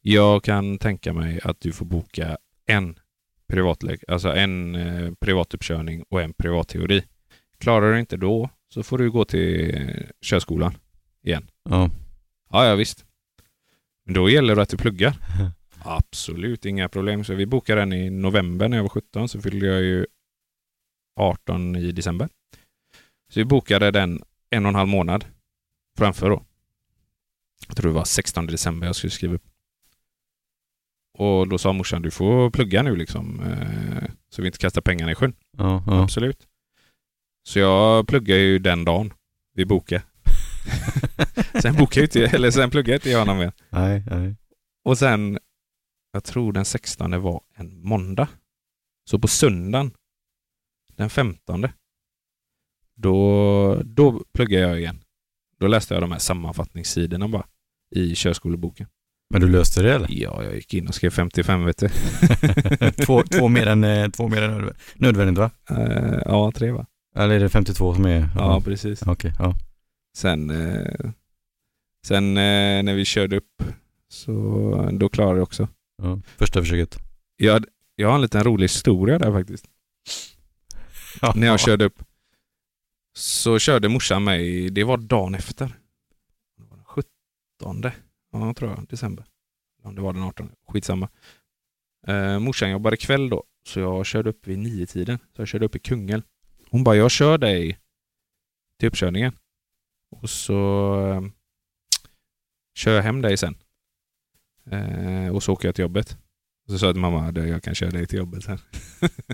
Speaker 2: jag kan tänka mig att du får boka en, privatlek- alltså en eh, privatuppkörning och en privatteori. Klarar du inte då så får du gå till eh, körskolan.
Speaker 1: Ja.
Speaker 2: Ja, ja visst. Men då gäller det att du pluggar. Absolut inga problem. Så vi bokade den i november när jag var 17, så fyllde jag ju 18 i december. Så vi bokade den en och en halv månad framför då. Jag tror det var 16 december jag skulle skriva upp. Och då sa morsan, du får plugga nu liksom, eh, så vi inte kastar pengarna i sjön.
Speaker 1: Ja, ja.
Speaker 2: Absolut. Så jag pluggar ju den dagen vi bokade. sen bokade jag inte, eller sen pluggade inte jag honom mer.
Speaker 1: Nej, nej.
Speaker 2: Och sen, jag tror den 16 var en måndag. Så på söndagen, den 15, då, då pluggade jag igen. Då läste jag de här sammanfattningssidorna bara i körskoleboken.
Speaker 1: Men du löste det eller?
Speaker 2: Ja, jag gick in och skrev 55 vet du.
Speaker 1: två, två mer än, eh, två mer än nödvä- nödvändigt va?
Speaker 2: Eh, ja, tre va?
Speaker 1: Eller är det 52 som är?
Speaker 2: Ja, precis.
Speaker 1: Okej, ja.
Speaker 2: Sen, eh, sen eh, när vi körde upp så då klarade jag också.
Speaker 1: ja. Första försöket.
Speaker 2: Jag, hade- jag har en liten rolig historia där faktiskt. När jag körde upp så körde morsan mig, det var dagen efter. Det var den 17 ja, tror jag, december. Om det var den 18. Skitsamma. Eh, morsan jobbade kväll då, så jag körde upp vid nio tiden. Så jag körde upp i Kungälv. Hon bara, jag kör dig till uppkörningen. Och så eh, kör jag hem dig sen. Eh, och så åker jag till jobbet. Och så sa jag till mamma, "Du, jag kan köra dig till jobbet sen.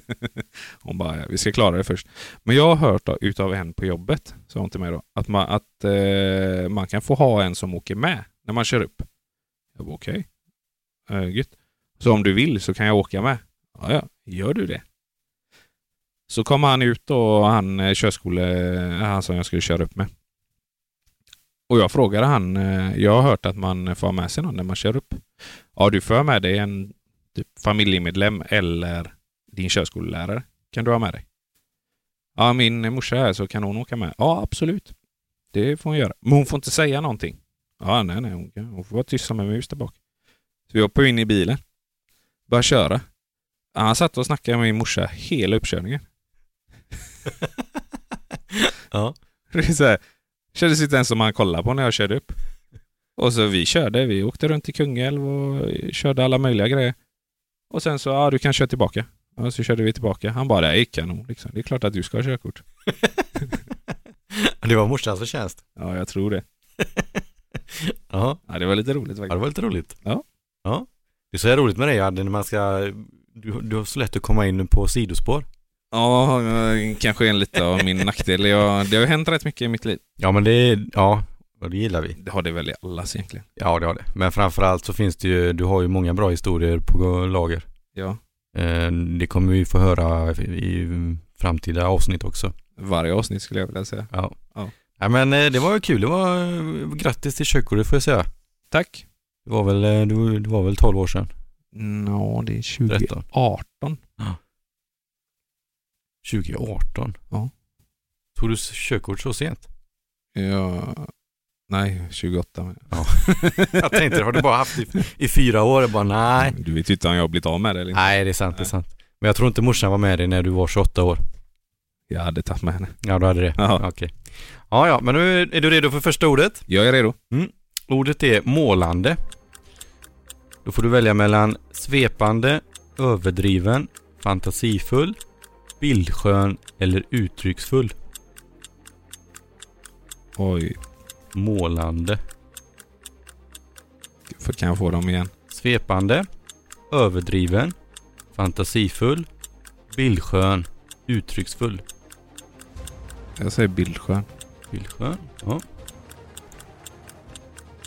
Speaker 2: Hon bara, vi ska klara det först. Men jag har hört då, utav en på jobbet, sa hon till mig då, att, man, att eh, man kan få ha en som åker med när man kör upp. Jag bara, okej. Okay. gött. Så om du vill så kan jag åka med. Ja, ja, gör du det? Så kom han ut då, och han eh, körskole, han som jag skulle köra upp med. Och jag frågade han, eh, jag har hört att man får ha med sig någon när man kör upp. Ja, du får ha med dig en typ, familjemedlem eller din körskolelärare. Kan du ha med dig? Ja, min morsa är här så kan hon åka med? Ja, absolut. Det får hon göra. Men hon får inte säga någonting. Ja, nej, nej. Hon, kan, hon får vara tyst som en mus där bak. Så vi hoppade in i bilen. Började köra. Ja, Han satt och snackade med min morsa hela uppkörningen.
Speaker 1: Ja.
Speaker 2: Det är så här, kändes inte ens som han kollade på när jag körde upp. Och så vi körde, vi åkte runt i Kungälv och körde alla möjliga grejer. Och sen så, ja du kan köra tillbaka. Ja, så körde vi tillbaka. Han bara, det är kanon liksom. Det är klart att du ska ha körkort.
Speaker 1: Det var morsans förtjänst.
Speaker 2: Ja, jag tror det.
Speaker 1: Ja.
Speaker 2: Ja, det var lite roligt faktiskt.
Speaker 1: Ja, det var lite roligt.
Speaker 2: Ja.
Speaker 1: Ja. Det är så här roligt med dig Adde, när man ska... Du, du har så lätt att komma in på sidospår.
Speaker 2: Ja, eh, kanske en lite av min nackdel. Jag, det har ju hänt rätt mycket i mitt liv.
Speaker 1: Ja, men det... är- Ja, och det gillar vi.
Speaker 2: Det har det väl i allas egentligen.
Speaker 1: Ja, det har det. Men framförallt så finns det ju... Du har ju många bra historier på lager.
Speaker 2: Ja.
Speaker 1: Eh, Det kommer vi få höra i framtida avsnitt också.
Speaker 2: Varje avsnitt skulle jag vilja säga.
Speaker 1: Ja.
Speaker 2: Ja.
Speaker 1: ja men eh, det var ju kul. Det var... eh, Grattis till körkortet får jag säga.
Speaker 2: Tack.
Speaker 1: Det var väl, eh, det var, det var väl 12 år sedan?
Speaker 2: Nå, det
Speaker 1: 13?
Speaker 2: är 2018.
Speaker 1: 2018?
Speaker 2: Ja.
Speaker 1: Tog du s- körkort så sent?
Speaker 2: Ja. Nej, 28. men-
Speaker 1: Ja. Jag tänkte, har du bara haft i, i fyra år? Jag bara nej.
Speaker 2: Du vet ju inte om jag har blivit av med det eller inte.
Speaker 1: Nej, det är sant, det är sant. Men jag tror inte morsan var med dig när du var 28 år.
Speaker 2: Jag hade tagit med henne.
Speaker 1: Ja, du hade det.
Speaker 2: Ja.
Speaker 1: Okej. Ja, ja, men nu är du redo för första ordet.
Speaker 2: Jag är redo.
Speaker 1: Ordet är målande. Då får du välja mellan svepande, överdriven, fantasifull, bildskön eller uttrycksfull.
Speaker 2: Oj,
Speaker 1: Målande.
Speaker 2: för kan jag få dem igen?
Speaker 1: Svepande, överdriven, fantasifull, bildskön, uttrycksfull.
Speaker 2: Jag säger Bildsjö.
Speaker 1: Bildskön? Ja.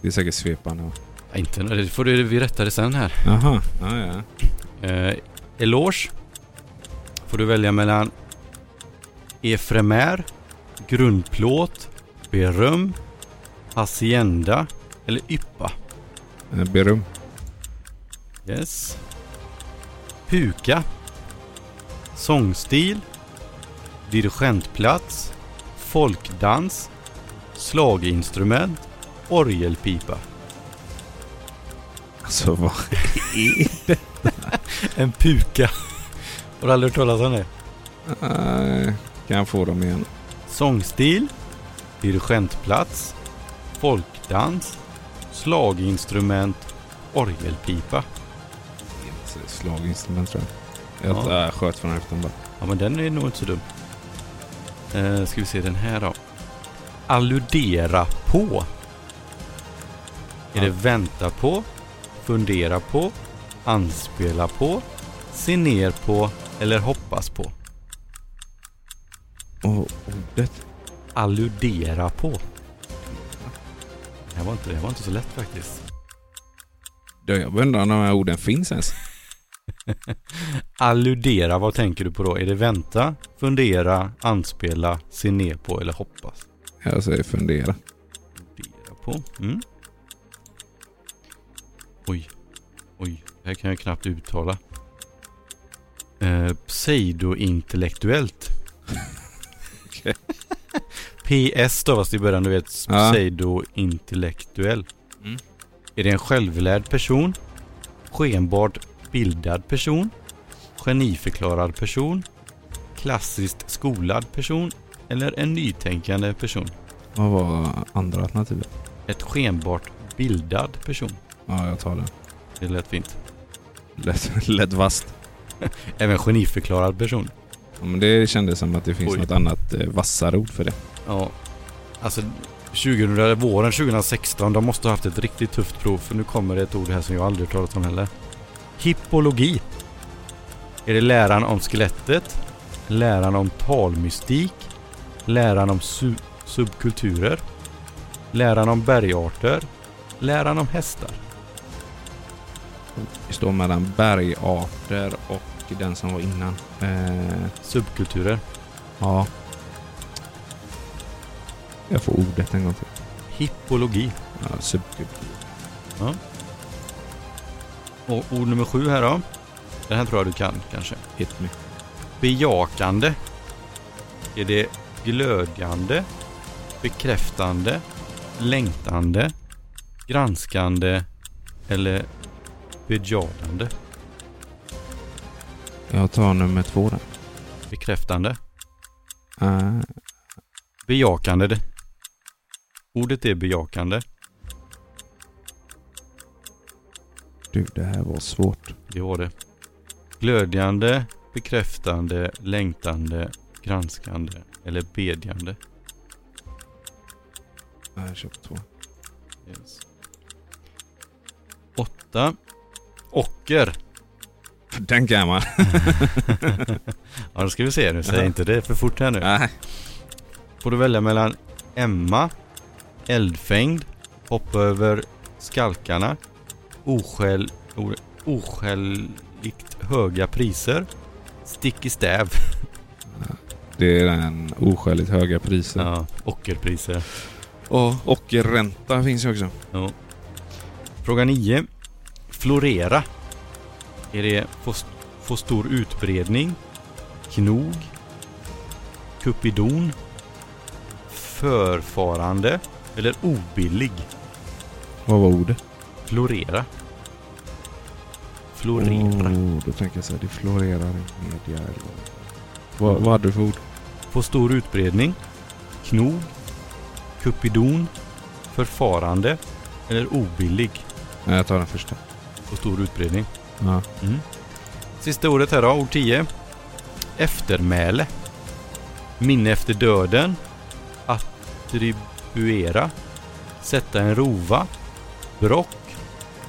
Speaker 2: Det är säkert svepande. va?
Speaker 1: Nej, Inte nu, det får du, vi rätta det sen här.
Speaker 2: Jaha, ja, ja.
Speaker 1: Eh, eloge. Får du välja mellan efremär, grundplåt, beröm, hacienda eller yppa.
Speaker 2: Eh, Berum.
Speaker 1: Yes. Puka. Sångstil. Dirigentplats. Folkdans. Slaginstrument. Orgelpipa.
Speaker 2: Alltså vad?
Speaker 1: En puka. Har du aldrig hört talas om det?
Speaker 2: Eh, Kan jag få dem igen?
Speaker 1: Sångstil. Dirigentplats. Folkdans. Slaginstrument. Orgelpipa.
Speaker 2: Slaginstrument tror jag. Jag
Speaker 1: Ja.
Speaker 2: ja. sköt från höften bara.
Speaker 1: Ja, men den är nog inte så dum. Eh, ska vi se den här då. Alludera på. Är
Speaker 2: Ja.
Speaker 1: det vänta på, fundera på, anspela på, se ner på eller hoppas på?
Speaker 2: Och ordet?
Speaker 1: Alludera på. Det här var inte, det här var inte så lätt faktiskt.
Speaker 2: Du, jag undrar om de här orden finns ens.
Speaker 1: Alludera, vad tänker du på då? Är det vänta, fundera, anspela, se ner på eller hoppas?
Speaker 2: Jag säger fundera.
Speaker 1: fundera på. Mm. Oj, oj, det här kan jag knappt uttala. Eh, pseudointellektuellt.
Speaker 2: Okej.
Speaker 1: PS stavas det i början, du vet.
Speaker 2: Ja.
Speaker 1: Pseudointellektuell.
Speaker 2: Mm.
Speaker 1: Är det en självlärd person? Skenbart bildad person? Geniförklarad person? Klassiskt skolad person? Eller en nytänkande person?
Speaker 2: Vad var andra alternativet?
Speaker 1: Ett skenbart bildad person.
Speaker 2: Ja, jag tar den.
Speaker 1: Det lät fint.
Speaker 2: Lätt, lätt vasst.
Speaker 1: Även geniförklarad person.
Speaker 2: Ja, men det kändes som att det finns
Speaker 1: Oj.
Speaker 2: något annat eh, vassare ord för det.
Speaker 1: Ja. Alltså 2000, våren 2016, de måste ha haft ett riktigt tufft prov för nu kommer det ett ord här som jag aldrig talat om heller. Hippologi. Är det läran om skelettet? Läran om talmystik? Läran om su- subkulturer? Läran om bergarter? Läran om hästar?
Speaker 2: Det står mellan bergarter och den som var innan. Eh,
Speaker 1: Subkulturer?
Speaker 2: ja. Jag får ordet en gång till.
Speaker 1: Hippologi.
Speaker 2: Ja, subkultur.
Speaker 1: Och ord nummer sju här då. Den här tror jag du kan kanske.
Speaker 2: Hit me.
Speaker 1: bejakande? Är det glödjande, bekräftande, längtande, granskande eller bejakande?
Speaker 2: Jag tar nummer två där.
Speaker 1: Bekräftande?
Speaker 2: Eh,
Speaker 1: Bejakande. det- Ordet är bejakande.
Speaker 2: du, det här var svårt.
Speaker 1: Det var det. Glödjande, bekräftande, längtande, granskande eller bedjande.
Speaker 2: Nej, jag köper två.
Speaker 1: Yes. Åtta. Ocker.
Speaker 2: Den kan man.
Speaker 1: Ja, då ska vi se. Nu säger
Speaker 2: Jaha.
Speaker 1: inte det för fort här nu.
Speaker 2: Nej.
Speaker 1: Får du välja mellan Emma, Eldfängd, Hoppa över skalkarna, oskäl, o- Oskäligt höga priser, Stick i stäv.
Speaker 2: Det är den oskäligt höga priset.
Speaker 1: Ja, ockerpriser.
Speaker 2: Och, och ränta finns ju också.
Speaker 1: Ja. Fråga 9. Florera. Är det få, st- få stor utbredning, knog, kupidon, förfarande eller obillig?
Speaker 2: Vad var ordet?
Speaker 1: Florera. Florera.
Speaker 2: Oh, då tänker jag så här, det florerar i media eller... Vad, vad hade du för ord?
Speaker 1: Få stor utbredning. Knog. Kupidon. Förfarande. Eller obillig.
Speaker 2: Nej, jag tar den första.
Speaker 1: Få stor utbredning.
Speaker 2: Ja.
Speaker 1: Sista ordet här då, ord 10. Eftermäle. Minne efter döden. Attribuera. Sätta en rova. Brock.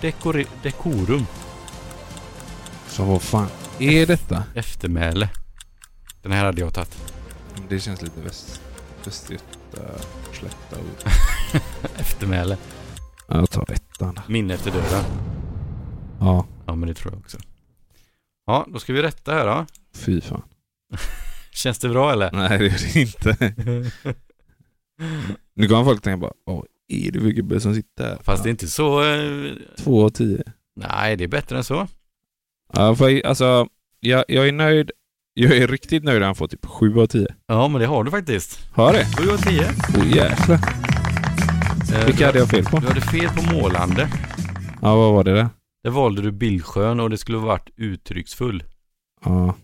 Speaker 1: Dekore- dekorum.
Speaker 2: Så vad fan är detta?
Speaker 1: Eftermäle. Den här hade jag tagit.
Speaker 2: Det känns lite väst... Västgöta... Slätta ord.
Speaker 1: Eftermäle.
Speaker 2: Ja, jag tar ettan.
Speaker 1: Minne efter döden.
Speaker 2: Ja,
Speaker 1: Ja, men det tror jag också. Ja, då ska vi rätta här då.
Speaker 2: fy fan.
Speaker 1: Känns det bra eller?
Speaker 2: Nej, det är det inte.
Speaker 1: Mm.
Speaker 2: Nu kommer folk tänka bara, vad är det för gubbe som sitter här?
Speaker 1: Fast det är inte så... eh,
Speaker 2: Två av tio.
Speaker 1: Nej, det är bättre än så.
Speaker 2: Ja, för, alltså, jag, jag är nöjd. Jag är riktigt nöjd när han får typ 7 av 10.
Speaker 1: Ja, men det har du faktiskt.
Speaker 2: Har det?
Speaker 1: 7 av 10.
Speaker 2: Åh jäklar.
Speaker 1: Eh,
Speaker 2: Vilka hade jag fel på?
Speaker 1: Du hade fel på målande.
Speaker 2: Ja, vad var det där?
Speaker 1: Där valde du bildskön och det skulle varit uttrycksfull.
Speaker 2: Ja,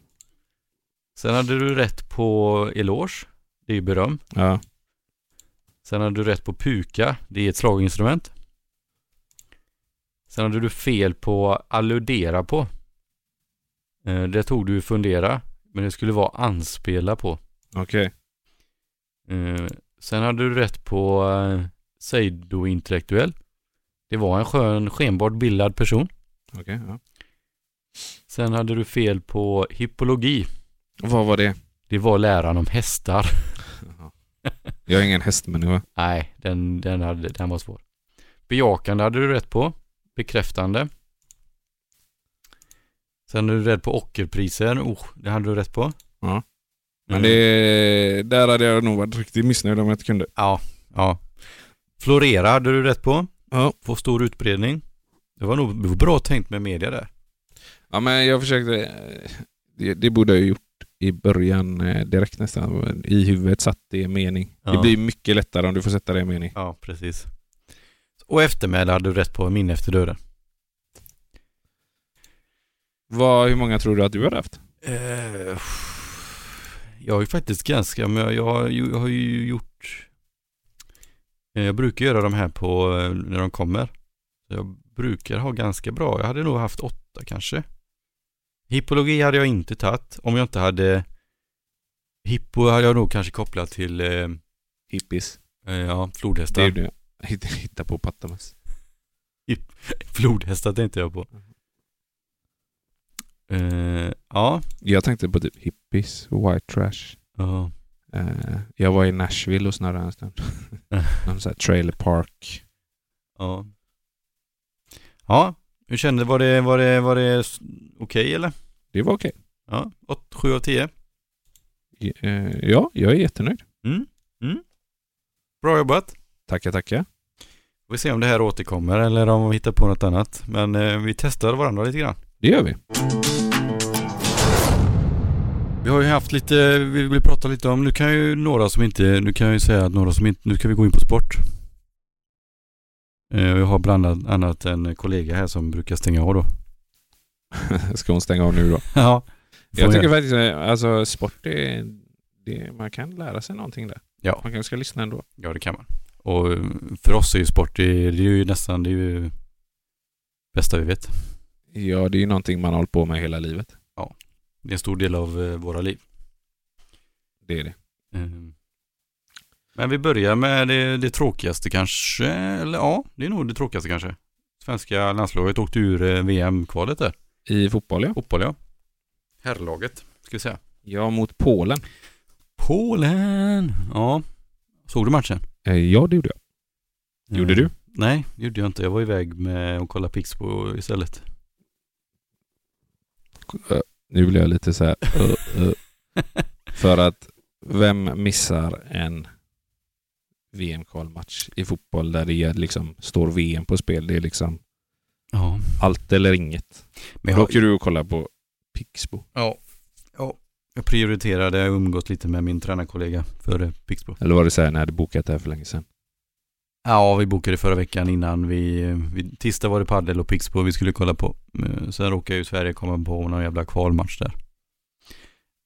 Speaker 1: Sen hade du rätt på eloge. Det är ju beröm.
Speaker 2: ja.
Speaker 1: Sen hade du rätt på puka. Det är ett slaginstrument. Sen hade du fel på alludera på. Eh, Det tog du fundera. Men det skulle vara anspela på.
Speaker 2: Okej.
Speaker 1: Eh, sen hade du rätt på eh, pseudointellektuell. Det var en skön, skenbart bildad person.
Speaker 2: Okej, ja.
Speaker 1: Sen hade du fel på hippologi.
Speaker 2: Vad var det?
Speaker 1: Det var läran om hästar.
Speaker 2: Jag är ingen hästmänniska.
Speaker 1: Nej, den, den, hade, den var svår. Bejakande hade du rätt på. Bekräftande. Sen hade du rätt på ockerpriser. Oh, det hade du rätt på.
Speaker 2: Ja.
Speaker 1: Eh,
Speaker 2: Men det, där hade jag nog varit riktigt missnöjd om jag inte kunde.
Speaker 1: Ja, ja. Florera hade du rätt på.
Speaker 2: Ja.
Speaker 1: Få stor utbredning. Det var nog det var bra tänkt med media där.
Speaker 2: Ja, men jag försökte. eh, Det, det borde jag ha gjort i början eh, direkt nästan. I huvudet satt det i en mening. Det
Speaker 1: Ja.
Speaker 2: blir mycket lättare om du får sätta det i en mening.
Speaker 1: Ja, precis. Och eftermäle hade du rätt på, minne efter döden.
Speaker 2: Vad, hur många tror du att du hade haft?
Speaker 1: Eh, jag har ju faktiskt ganska, men jag, jag, har ju- jag har ju gjort... eh, Jag brukar göra de här på, eh, när de kommer. Så Jag brukar ha ganska bra. Jag hade nog haft åtta kanske. Hippologi hade jag inte tagit om jag inte hade Hippo hade jag nog kanske kopplat till eh,
Speaker 2: Hippies.
Speaker 1: eh, ja,
Speaker 2: Det
Speaker 1: flodhästar.
Speaker 2: är det jag hittar på Patamas.
Speaker 1: Flodhästar tänkte jag på. Eh, ja.
Speaker 2: Jag tänkte på typ hippies och white trash.
Speaker 1: Ja.
Speaker 2: Eh, jag var i Nashville och snurrade en stund. Någon sån här trailer park.
Speaker 1: Ja. Ja, hur kände Var det, var det, var det s- okej eller?
Speaker 2: Det var okej.
Speaker 1: Ja, 8, 7 av 10.
Speaker 2: Eh, ja, jag är jättenöjd.
Speaker 1: Mm, Bra jobbat.
Speaker 2: Tackar, tackar.
Speaker 1: Vi får se om det här återkommer eller om vi hittar på något annat. Men eh, vi testar varandra lite grann.
Speaker 2: Det gör vi.
Speaker 1: Vi har ju haft lite, vi vill prata lite om, nu kan ju några som inte, nu kan jag ju säga att några som inte, nu ska vi gå in på sport. Eh, Jag har bland annat en kollega här som brukar stänga av då.
Speaker 2: Ska hon stänga av nu då?
Speaker 1: Ja.
Speaker 2: Jag tycker faktiskt eh, alltså sport är... Det, man kan lära sig någonting där.
Speaker 1: Ja.
Speaker 2: Man kanske ska lyssna ändå.
Speaker 1: Ja, det kan man. Och eh, för oss är ju sport, det är, det är ju nästan, det är ju bästa vi vet.
Speaker 2: Ja, det är ju någonting man har hållit på med hela livet.
Speaker 1: Det är en stor del av eh, våra liv.
Speaker 2: Det är det.
Speaker 1: Eh, Men vi börjar med det, det tråkigaste kanske, eller ja, det är nog det tråkigaste kanske. Svenska landslaget åkte ur eh, VM-kvalet där.
Speaker 2: I fotboll, ja.
Speaker 1: Fotboll ja. Herrlaget, ska vi säga.
Speaker 2: Ja, mot Polen.
Speaker 1: Polen! Ja. Såg du matchen? Eh,
Speaker 2: Eh, ja, det gjorde jag. Gjorde du?
Speaker 1: Nej, det gjorde jag inte. Jag var iväg med att kolla Pixbo istället.
Speaker 2: Eh, nu blir jag lite så här... eh, eh. För att vem missar en VM-kvalmatch i fotboll där det är liksom står VM på spel? Det är liksom
Speaker 1: Ja.
Speaker 2: allt eller inget.
Speaker 1: Men
Speaker 2: Då
Speaker 1: jag,
Speaker 2: åker du och kollar på Pixbo.
Speaker 1: ja. ja. Jag prioriterade, jag har umgått lite med min tränarkollega före Pixbo.
Speaker 2: Eller var det så här, ni hade bokat det här för länge sedan?
Speaker 1: Ja, vi bokade förra veckan innan vi, vi tisdag var det padel och Pixbo vi skulle kolla på. Eh, Sen råkade ju Sverige komma på någon jävla kvalmatch där.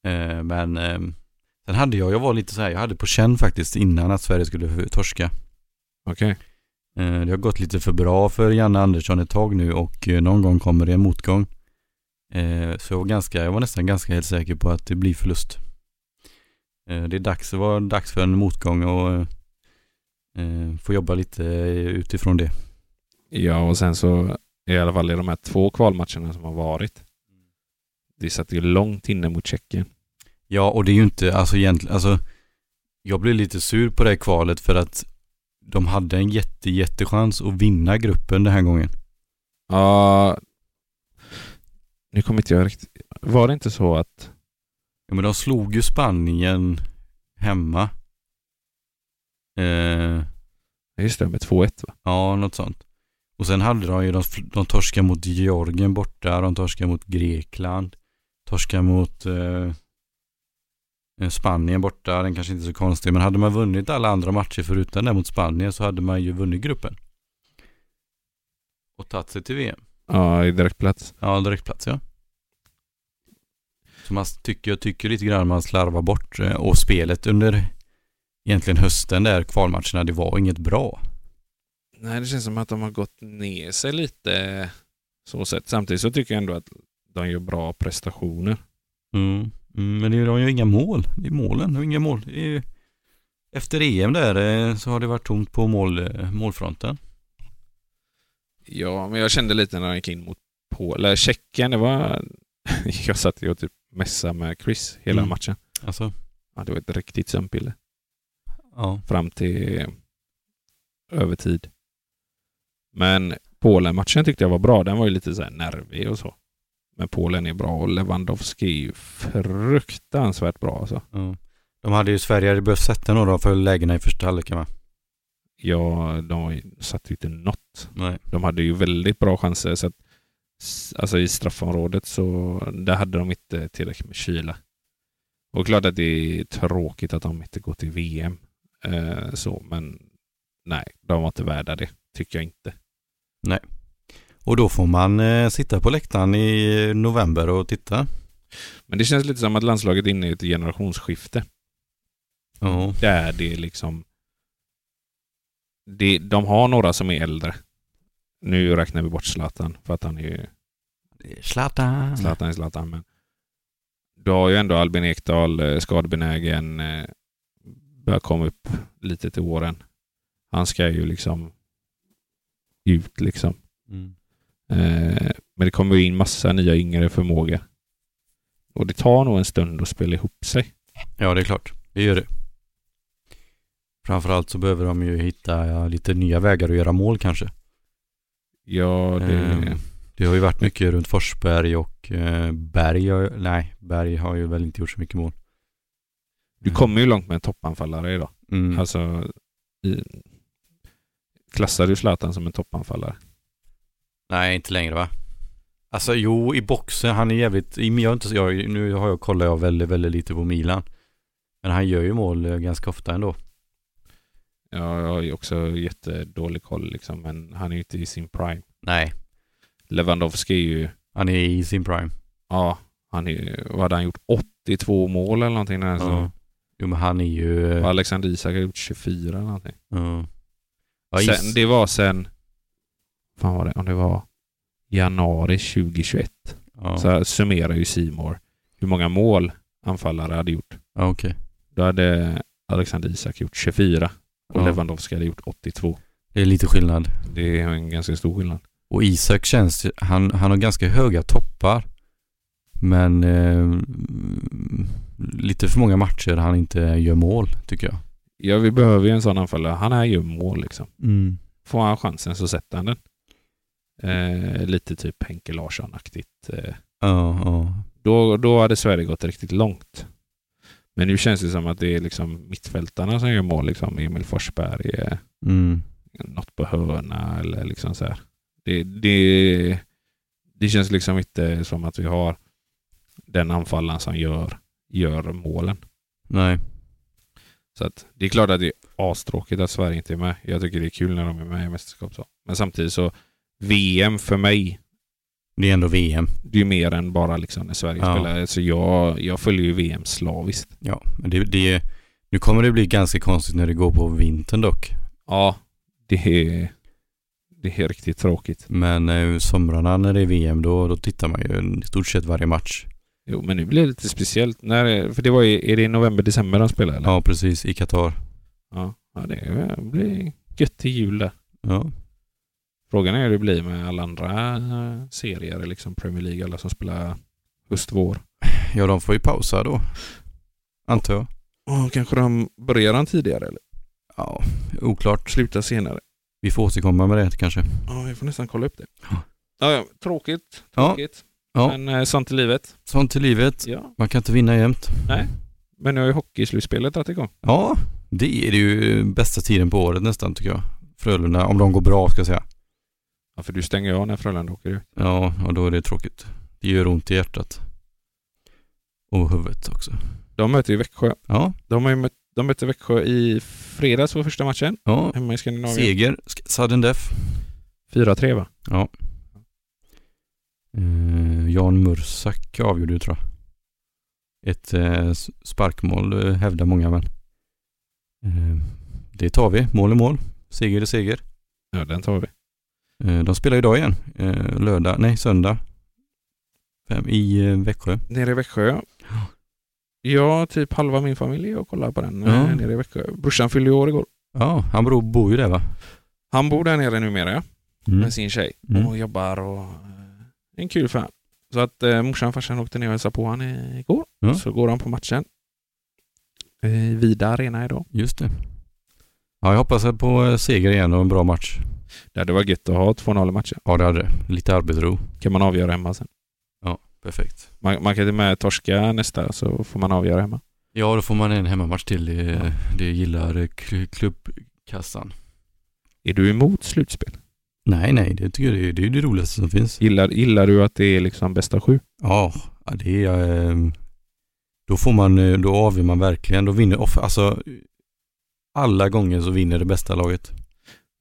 Speaker 1: Eh, Men eh, sen hade jag, jag var lite så här, jag hade på känn faktiskt innan att Sverige skulle torska.
Speaker 2: Okej.
Speaker 1: Eh, Det har gått lite för bra för Janne Andersson ett tag nu och eh, någon gång kommer det en motgång. Eh, Så jag var, ganska, jag var nästan ganska helt säker på att det blir förlust. Eh, Det är dags, det var dags för en motgång och eh, eh, få jobba lite utifrån det.
Speaker 2: Ja, och sen så i alla fall i de här två kvalmatcherna som har varit. Det satt ju långt inne mot Tjeckien.
Speaker 1: Ja, och det är ju inte, alltså egentligen, alltså jag blev lite sur på det här kvalet för att de hade en jätte, jättechans att vinna gruppen den här gången.
Speaker 2: Ja. nu kommer inte jag riktigt... Var det inte så att...
Speaker 1: Ja, men de slog ju Spanien hemma. Eh,
Speaker 2: Just det, med 2-1 va?
Speaker 1: Ja, något sånt. Och sen hade de ju, de, de torskar mot Georgien borta, de torskar mot Grekland, torskar mot eh, eh, Spanien borta, den kanske inte är så konstig, men hade man vunnit alla andra matcher förutom den mot Spanien så hade man ju vunnit gruppen. Och tagit sig till VM.
Speaker 2: Ja, i direktplats.
Speaker 1: Ja, direktplats ja. Så man tycker, jag tycker lite grann man slarvar bort eh, och spelet under egentligen hösten där kvalmatcherna, det var inget bra.
Speaker 2: Nej, det känns som att de har gått ner sig lite så sett. Samtidigt så tycker jag ändå att de gör bra prestationer.
Speaker 1: Mm. Mm, men det är- de gör inga mål. Det är målen. De har inga mål. Det är ju... Efter EM där eh, så har det varit tomt på mål, eh, målfronten.
Speaker 2: Ja, men jag kände lite när de gick in mot Polen, eller Tjeckien, det var... jag satt ju och typ messade med Chris hela
Speaker 1: Mm.
Speaker 2: matchen.
Speaker 1: Alltså,
Speaker 2: Ja, det var ett riktigt sömnpiller.
Speaker 1: ja.
Speaker 2: fram till övertid. Men Polen-matchen tyckte jag var bra. Den var ju lite så här nervig och så. Men Polen är bra och Lewandowski är ju fruktansvärt bra alltså.
Speaker 1: ja. De hade ju Sverige hade behövt sätta några för lägena i första halvleken va?
Speaker 2: Ja, de var ju, satte ju inte något.
Speaker 1: Nej.
Speaker 2: De hade ju väldigt bra chanser. Så att, s- alltså i straffområdet så där hade de inte tillräckligt med kyla. Och klart att det är tråkigt att de inte går till VM. Eh, så, men nej, de var inte värda det. Tycker jag inte.
Speaker 1: Och då får man eh, sitta på läktaren i november och titta.
Speaker 2: Men det känns lite som att landslaget är inne i ett generationsskifte.
Speaker 1: Ja.
Speaker 2: Där det är liksom... Det, de har några som är äldre. Nu räknar vi bort Zlatan för att han är ju
Speaker 1: Zlatan.
Speaker 2: Zlatan är Zlatan. Men du har ju ändå Albin Ekdal, eh, skadebenägen, eh, börjar komma upp lite till åren. Han ska ju liksom ut liksom.
Speaker 1: Mm.
Speaker 2: Eh, men det kommer ju in massa nya yngre förmågor. Och det tar nog en stund att spela ihop sig.
Speaker 1: Ja, det är klart. Det gör det. Framförallt så behöver de ju hitta ja, lite nya vägar att göra mål kanske.
Speaker 2: Ja, det...
Speaker 1: Ehm, Det har ju varit mycket runt Forsberg och eh, Berg. har ju- Nej, Berg har ju väl inte gjort så mycket mål.
Speaker 2: Du kommer ju långt med en toppanfallare idag.
Speaker 1: Mm.
Speaker 2: Alltså, i, klassar du Zlatan som en toppanfallare?
Speaker 1: Nej, inte längre va? Alltså jo, i boxen, han är jävligt, i- jag är inte, så- jag, nu har jag kollat jag väldigt, väldigt lite på Milan. Men han gör ju mål eh, ganska ofta ändå.
Speaker 2: Ja, jag har ju också jättedålig koll liksom, men han är ju inte i sin prime.
Speaker 1: Nej,
Speaker 2: Lewandowski är ju,
Speaker 1: han är i sin prime.
Speaker 2: ja, han är, vad hade han gjort? 82 mål eller någonting den här säsongen.
Speaker 1: Ja. Jo men han är ju...
Speaker 2: Och
Speaker 1: eh,
Speaker 2: Alexander Isak har gjort 24 eller någonting.
Speaker 1: ja. Ja,
Speaker 2: sen,
Speaker 1: is,
Speaker 2: det var sen, fan var det, om det var januari 2021
Speaker 1: ja.
Speaker 2: så här summerar ju Simor hur många mål anfallare hade gjort.
Speaker 1: ja, okej.
Speaker 2: Då hade Alexander Isak gjort 24 och
Speaker 1: Ja.
Speaker 2: Lewandowski hade gjort 82.
Speaker 1: Det är lite skillnad.
Speaker 2: Det är en ganska stor skillnad.
Speaker 1: Och Isak känns, han, han har ganska höga toppar. Men eh, mm, lite för många matcher han inte gör mål tycker jag.
Speaker 2: Ja, vi behöver ju en sån anfallare. Han är ju mål liksom.
Speaker 1: Mm.
Speaker 2: Får han chansen så sätter han den. Eh, lite typ Henke Larsson-aktigt. Eh,
Speaker 1: Ja, ja.
Speaker 2: då, då hade Sverige gått riktigt långt. Men nu känns det som att det är liksom mittfältarna som gör mål. Liksom Emil Forsberg, eh,
Speaker 1: Mm.
Speaker 2: något på hörna eller liksom så här. Det, det, det känns liksom inte som att vi har den anfallaren som gör, gör målen.
Speaker 1: Nej.
Speaker 2: Så att det är klart att det är astråkigt att Sverige inte är med. Jag tycker det är kul när de är med i mästerskap. Så. Men samtidigt så VM för mig,
Speaker 1: Det är ändå VM.
Speaker 2: det är ju mer än bara liksom när Sverige
Speaker 1: Ja.
Speaker 2: spelar. Så jag, jag följer ju VM slaviskt.
Speaker 1: Ja, men det, det, nu kommer det bli ganska konstigt när det går på vintern dock.
Speaker 2: Ja, det är, det är riktigt tråkigt.
Speaker 1: Men eh, somrarna när det är VM då, då tittar man ju i stort sett varje match.
Speaker 2: Jo, men nu blir det lite speciellt. När, för det var ju, är det i november, december de spelar? Eller?
Speaker 1: Ja, precis. I Qatar.
Speaker 2: Ja, ja det blir gött till jul där.
Speaker 1: Ja.
Speaker 2: Frågan är hur det blir med alla andra eh, serier, liksom Premier League, alla som spelar höst-vår.
Speaker 1: ja, de får ju pausa då. Antar jag.
Speaker 2: Oh, kanske de börjar han tidigare eller
Speaker 1: Ja, oklart.
Speaker 2: slutar senare.
Speaker 1: Vi får återkomma med det kanske.
Speaker 2: Ja, vi får nästan kolla upp det.
Speaker 1: Ja.
Speaker 2: Ja, ja, tråkigt,
Speaker 1: Ja,
Speaker 2: tråkigt.
Speaker 1: Ja.
Speaker 2: Men eh, sånt i livet.
Speaker 1: sånt är livet.
Speaker 2: Ja.
Speaker 1: Man kan inte vinna jämt.
Speaker 2: Men nu har ju hockeyslutspelet dragit igång.
Speaker 1: Ja, det är det ju bästa tiden på året nästan tycker jag. Frölunda, om de går bra ska jag säga.
Speaker 2: Ja, för du stänger ju av när Frölunda åker ut.
Speaker 1: Ja, och då är det tråkigt. Det gör ont i hjärtat. Och huvudet också.
Speaker 2: De möter ju Växjö.
Speaker 1: Ja,
Speaker 2: De, har ju mött, de mötte Växjö i fredags på första matchen
Speaker 1: ja.
Speaker 2: hemma i Skandinavien.
Speaker 1: Seger, sk- sudden death.
Speaker 2: 4-3 va?
Speaker 1: Eh, Jan Mursak avgjorde ju tror jag. Ett eh, s- sparkmål eh, hävdar många men. Eh, det tar vi. Mål är mål. Seger är seger.
Speaker 2: Ja, den tar vi.
Speaker 1: Eh, de spelar idag igen. Eh, lördag, nej söndag. Fem, I eh, Växjö.
Speaker 2: Nere i Växjö.
Speaker 1: Ja.
Speaker 2: Ja, typ halva min familj är och kollar på den
Speaker 1: Ja.
Speaker 2: eh, nere i Växjö. Brorsan fyllde ju år igår.
Speaker 1: Ja, han bor, bor ju där va?
Speaker 2: Han bor där nere numera ja,
Speaker 1: Mm.
Speaker 2: med sin tjej
Speaker 1: Mm.
Speaker 2: och jobbar och eh, en kul fan. Så att eh, morsan och farsan åkte ner och hälsade på han eh, igår.
Speaker 1: Ja.
Speaker 2: Så går han på matchen. I Vida Arena idag.
Speaker 1: Just det. Ja, jag hoppas på eh, seger igen och en bra match.
Speaker 2: Det hade varit gött att ha 2-0 i matchen.
Speaker 1: Ja, det hade det. Lite arbetsro.
Speaker 2: Kan man avgöra hemma sen.
Speaker 1: Perfekt.
Speaker 2: Man, man kan till och med torska nästa så får man avgöra hemma.
Speaker 1: Ja, då får man en hemmamatch till. Det, det gillar eh, kl- klubbkassan.
Speaker 2: Är du emot slutspel?
Speaker 1: Nej, nej, det tycker jag det är, det är det roligaste som finns.
Speaker 2: Gillar, gillar du att det är liksom bästa sju?
Speaker 1: Ja, ja, det är... eh, Då får man, eh, då avgör man verkligen. Då vinner, off- alltså alla gånger så vinner det bästa laget.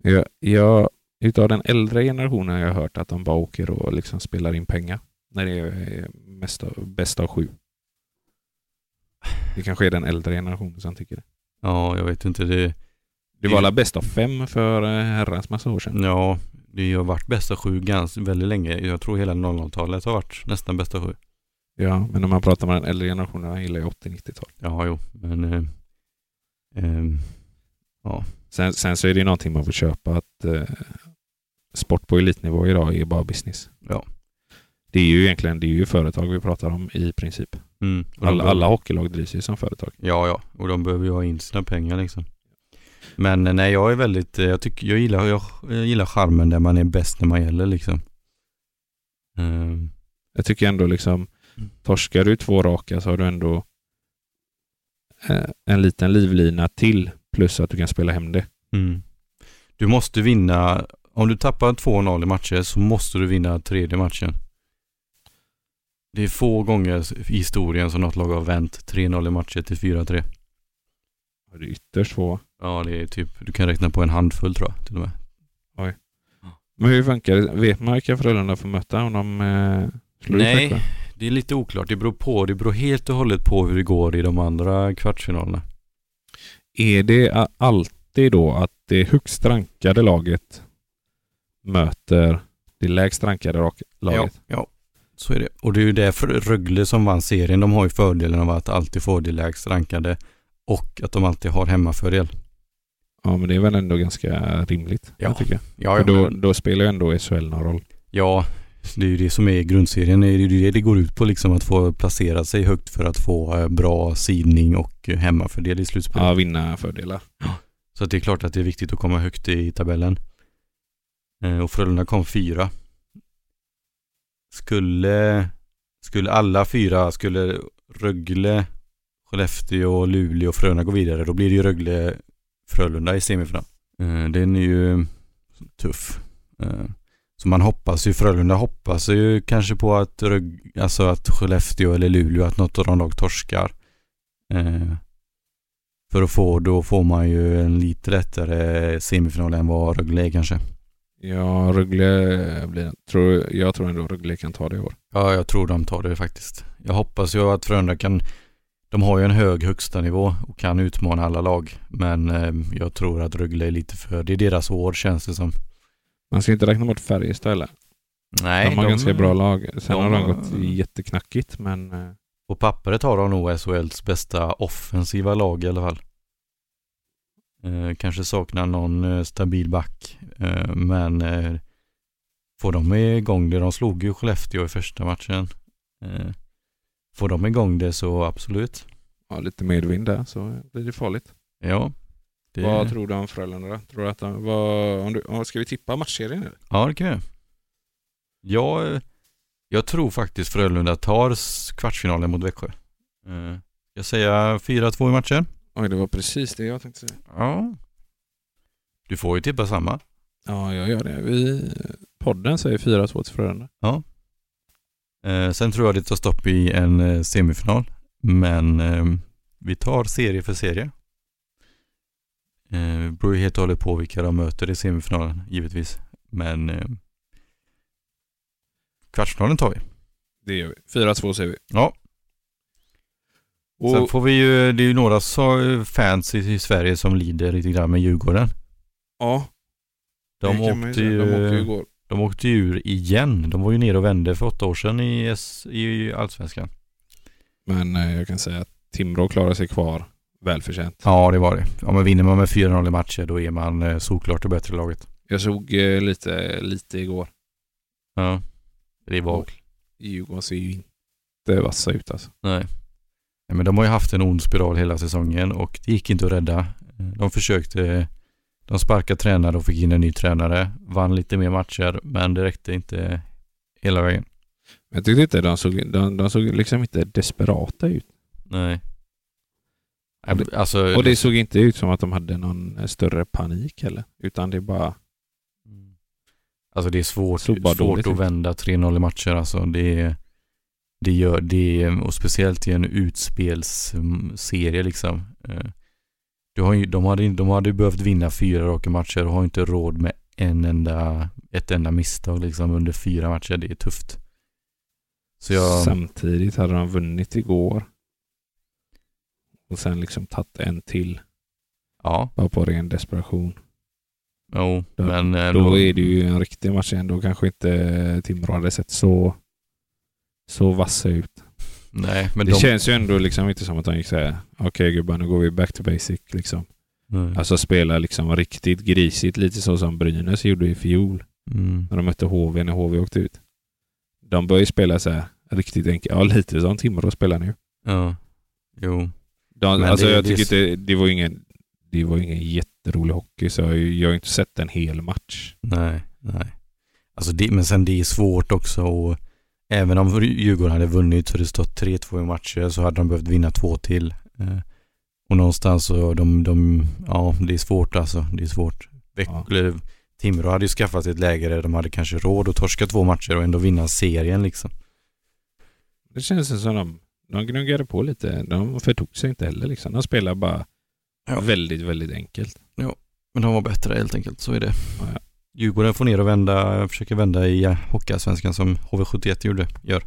Speaker 2: Jag, jag, utav den äldre generationen har jag hört att de bara åker och liksom spelar in pengar när det är mest av, bäst av sju. Det kanske är den äldre generationen som tycker det.
Speaker 1: Ja, jag vet inte. Det, Mm.
Speaker 2: Det var alla bäst av fem för eh, herrans massa år sedan.
Speaker 1: ja, Det har varit bästa sju ganska, väldigt länge. Jag tror hela 00-talet har varit nästan bästa sju.
Speaker 2: Ja, men om man pratar med den äldre generationen, jag gillar ju 80-90-tal.
Speaker 1: Ja, jo, men... Eh, ehm,
Speaker 2: Sen, sen så är det ju någonting man får köpa att eh, sport på elitnivå idag är bara business.
Speaker 1: Ja.
Speaker 2: Det är ju egentligen det är ju företag vi pratar om i princip.
Speaker 1: mm. Och de
Speaker 2: Alla,
Speaker 1: behöver-
Speaker 2: alla hockeylag drivs ju som företag.
Speaker 1: Ja, ja, och de behöver ju ha in sina pengar liksom. Men eh, nej, jag är väldigt, eh, jag tycker, jag gillar, jag, jag gillar charmen där man är bäst när man gäller liksom. Ehm,
Speaker 2: Jag tycker ändå liksom,
Speaker 1: Mm.
Speaker 2: torskar du två raka så har du ändå eh, en liten livlina till plus att du kan spela hem det.
Speaker 1: mm. Du måste vinna, om du tappar 2-0 i matcher så måste du vinna tredje matchen. Det är få gånger i historien som något lag har vänt 3-0 i matcher till 4-3.
Speaker 2: Och det är ytterst få.
Speaker 1: Ja, det är typ, du kan räkna på en handfull tror jag till och med.
Speaker 2: Men hur funkar det? Vet man vilka Frölunda får möta om de eh, slår
Speaker 1: Nej.
Speaker 2: ut Växjö?
Speaker 1: Det är lite oklart, det beror på, det beror helt och hållet på hur det går i de andra kvartsfinalerna.
Speaker 2: Är det a- alltid då att det högst rankade laget möter det lägst rankade rak- laget?
Speaker 1: Ja, ja, så är det. Och det är ju därför Rögle som vann serien, de har ju fördelen av att alltid få det lägst rankade och att de alltid har hemmafördel.
Speaker 2: Ja. men det är väl ändå ganska rimligt.
Speaker 1: Ja.
Speaker 2: Jag tycker.
Speaker 1: Ja,
Speaker 2: För då, då spelar ju ändå SHL någon roll.
Speaker 1: ja, det är ju det som är grundserien, det är ju det det går ut på liksom, att få placera sig högt för att få eh, bra sidning och eh, hemmafördel i slutspelet.
Speaker 2: Ja, vinna fördelar.
Speaker 1: Så att det är klart att det är viktigt att komma högt i tabellen. Eh, Och Frölunda kom fyra. Skulle, skulle alla fyra, skulle Rögle, Skellefteå, Luleå och Frölunda gå vidare, då blir det ju Rögle-Frölunda i semifinal. Eh, Den är ju tuff. Eh, Så man hoppas ju, Frölunda hoppas ju kanske på att, Rög, alltså att Skellefteå eller Luleå, att något av de lag torskar. Eh, för att få, då får man ju en lite lättare semifinal än vad Rögle är kanske.
Speaker 2: Ja, Rögle eh, blir... Tror, jag tror ändå Rögle kan ta det i år.
Speaker 1: Ja, jag tror de tar det faktiskt. Jag hoppas ju att Frölunda kan, de har ju en hög högsta nivå och kan utmana alla lag. Men eh, jag tror att Rögle är lite för, det är deras år känns det som.
Speaker 2: Man ska inte räkna bort Färjestad heller.
Speaker 1: Nej,
Speaker 2: De har ganska bra lag. Sen
Speaker 1: de
Speaker 2: har de
Speaker 1: har-
Speaker 2: gått jätteknackigt, men... eh,
Speaker 1: På pappret har de nog SHLs bästa offensiva lag i alla fall. Eh, kanske saknar någon eh, stabil back, eh, men eh, får de igång det, de slog ju Skellefteå i första matchen. Eh, får de igång det så absolut.
Speaker 2: Ja, lite medvind där så blir det farligt.
Speaker 1: Ja, det,
Speaker 2: Vad tror du om Frölunda då? Tror du att de, vad, om du, om, Ska vi tippa matchserien nu?
Speaker 1: ja, det kan jag. jag. Jag tror faktiskt Frölunda tar s- kvartsfinalen mot Växjö. Eh, jag säger 4-2 i matchen.
Speaker 2: Oj, det var precis det jag tänkte säga.
Speaker 1: Ja. Du får ju tippa samma.
Speaker 2: Ja, jag gör det. Vi, podden säger 4-2 till Frölunda.
Speaker 1: Eh, sen tror jag det tar stopp i en eh, semifinal. Men eh, vi tar serie för serie. Eh, det beror ju helt och hållet på vilka de möter i semifinalen givetvis. Men eh, kvartsfinalen tar vi.
Speaker 2: Det gör vi. 4-2 säger vi.
Speaker 1: Ja, sen
Speaker 2: Och,
Speaker 1: får vi ju, det är ju några så- eh, fans i, i Sverige som lider lite grann med Djurgården.
Speaker 2: ja,
Speaker 1: De
Speaker 2: det kan man
Speaker 1: åkte,
Speaker 2: säga.
Speaker 1: ju,
Speaker 2: de åkte ju igår.
Speaker 1: de åkte ju ur igen. De var ju nere och vände för åtta år sedan i, S- i Allsvenskan.
Speaker 2: Men eh, jag kan säga att Timrå klarar sig kvar välförtjänt.
Speaker 1: Ja, det var det. Ja, men vinner man med 4-0 i matcher då är man eh, såklart det bättre laget.
Speaker 2: Jag såg eh, lite, lite igår.
Speaker 1: Ja. Det var...
Speaker 2: Och Djurgården ser ju inte vassa ut alltså.
Speaker 1: Nej. Nej, men de har ju haft en ond spiral hela säsongen och det gick inte att rädda. Eh, De försökte... De sparkade tränare och fick in en ny tränare. Vann lite mer matcher, men det räckte inte hela vägen.
Speaker 2: Men Jag tyckte inte de såg, de, de såg liksom inte desperata ut.
Speaker 1: Nej. Nej, men Alltså...
Speaker 2: Och det såg inte ut som att de hade någon eh, större panik heller. Utan det är bara...
Speaker 1: Alltså det är svårt,
Speaker 2: Såg bara
Speaker 1: svårt
Speaker 2: dåligt
Speaker 1: att
Speaker 2: ut.
Speaker 1: vända 3-0 i matcher alltså. Det, är- det gör det, är- och speciellt i en utspelsserie liksom. Eh, Du har, ju- de, hade, de hade ju behövt vinna fyra raka matcher och har inte råd med en enda, ett enda misstag liksom under fyra matcher. Det är tufft. Så jag,
Speaker 2: Samtidigt hade de vunnit igår. Och sen liksom tagit en till.
Speaker 1: ja,
Speaker 2: Bara på ren desperation.
Speaker 1: Jo, men eh,
Speaker 2: Då
Speaker 1: då-
Speaker 2: är det ju en riktig match igen. Då kanske inte Timrå hade sett så, så vassa ut.
Speaker 1: Nej, men
Speaker 2: det
Speaker 1: de...
Speaker 2: känns ju ändå liksom inte som att de gick så här. Okej gubbar, nu går vi back to basic liksom.
Speaker 1: Mm. Nej.
Speaker 2: Alltså spela liksom riktigt grisigt. Lite så som Brynäs gjorde i fjol
Speaker 1: Mm.
Speaker 2: när de mötte HV när HV åkte ut. De börjar ju spela så här riktigt enkelt. Ja, lite som Timrå spelar nu.
Speaker 1: Ja. Jo.
Speaker 2: De,
Speaker 1: Men
Speaker 2: alltså
Speaker 1: det-
Speaker 2: jag
Speaker 1: det är
Speaker 2: tycker
Speaker 1: så-
Speaker 2: inte, det var ju ingen, det var ju ingen jätterolig hockey så jag, har ju- jag har ju inte sett en hel match.
Speaker 1: Nej, nej. Alltså det, men sen det är svårt också och även om Djurgården hade vunnit så det stått 3-2 i matcher så hade de behövt vinna två till. Eh, Och någonstans så de, de, ja det är svårt alltså. Det är svårt. Växjö, Timrå hade ju skaffat sig ett läge där de hade kanske råd att torska två matcher och ändå vinna serien liksom.
Speaker 2: Det känns ju som de, de gnuggade på lite. De förtog sig inte heller liksom. De spelar bara
Speaker 1: Ja.
Speaker 2: väldigt, väldigt enkelt.
Speaker 1: Men de var bättre helt enkelt, så är det.
Speaker 2: Ja, ja.
Speaker 1: Djurgården får ner och vända, försöker vända i eh, Hockeyallsvenskan som HV71 gjorde, gör.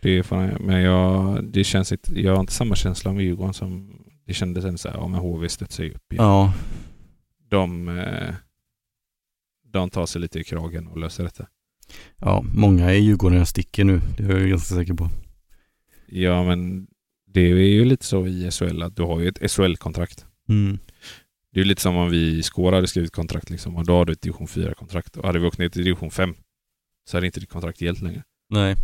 Speaker 2: Det är fan, men jag, det känns inte, jag har inte samma känsla om Djurgården som det kändes ändå så här, ja men HV studsar ju upp igen.
Speaker 1: Ja,
Speaker 2: De, eh, de tar sig lite i kragen och löser detta.
Speaker 1: ja många i Djurgården sticker nu, det är jag ganska säker på.
Speaker 2: Ja men det är ju lite så i SHL att du har ju ett SHL-kontrakt.
Speaker 1: Mm.
Speaker 2: Det är ju lite som om vi i Skåre hade skrivit kontrakt liksom och då hade du ett division 4-kontrakt. Och hade vi åkt ner till division 5 så hade inte ditt kontrakt gällt längre.
Speaker 1: Nej.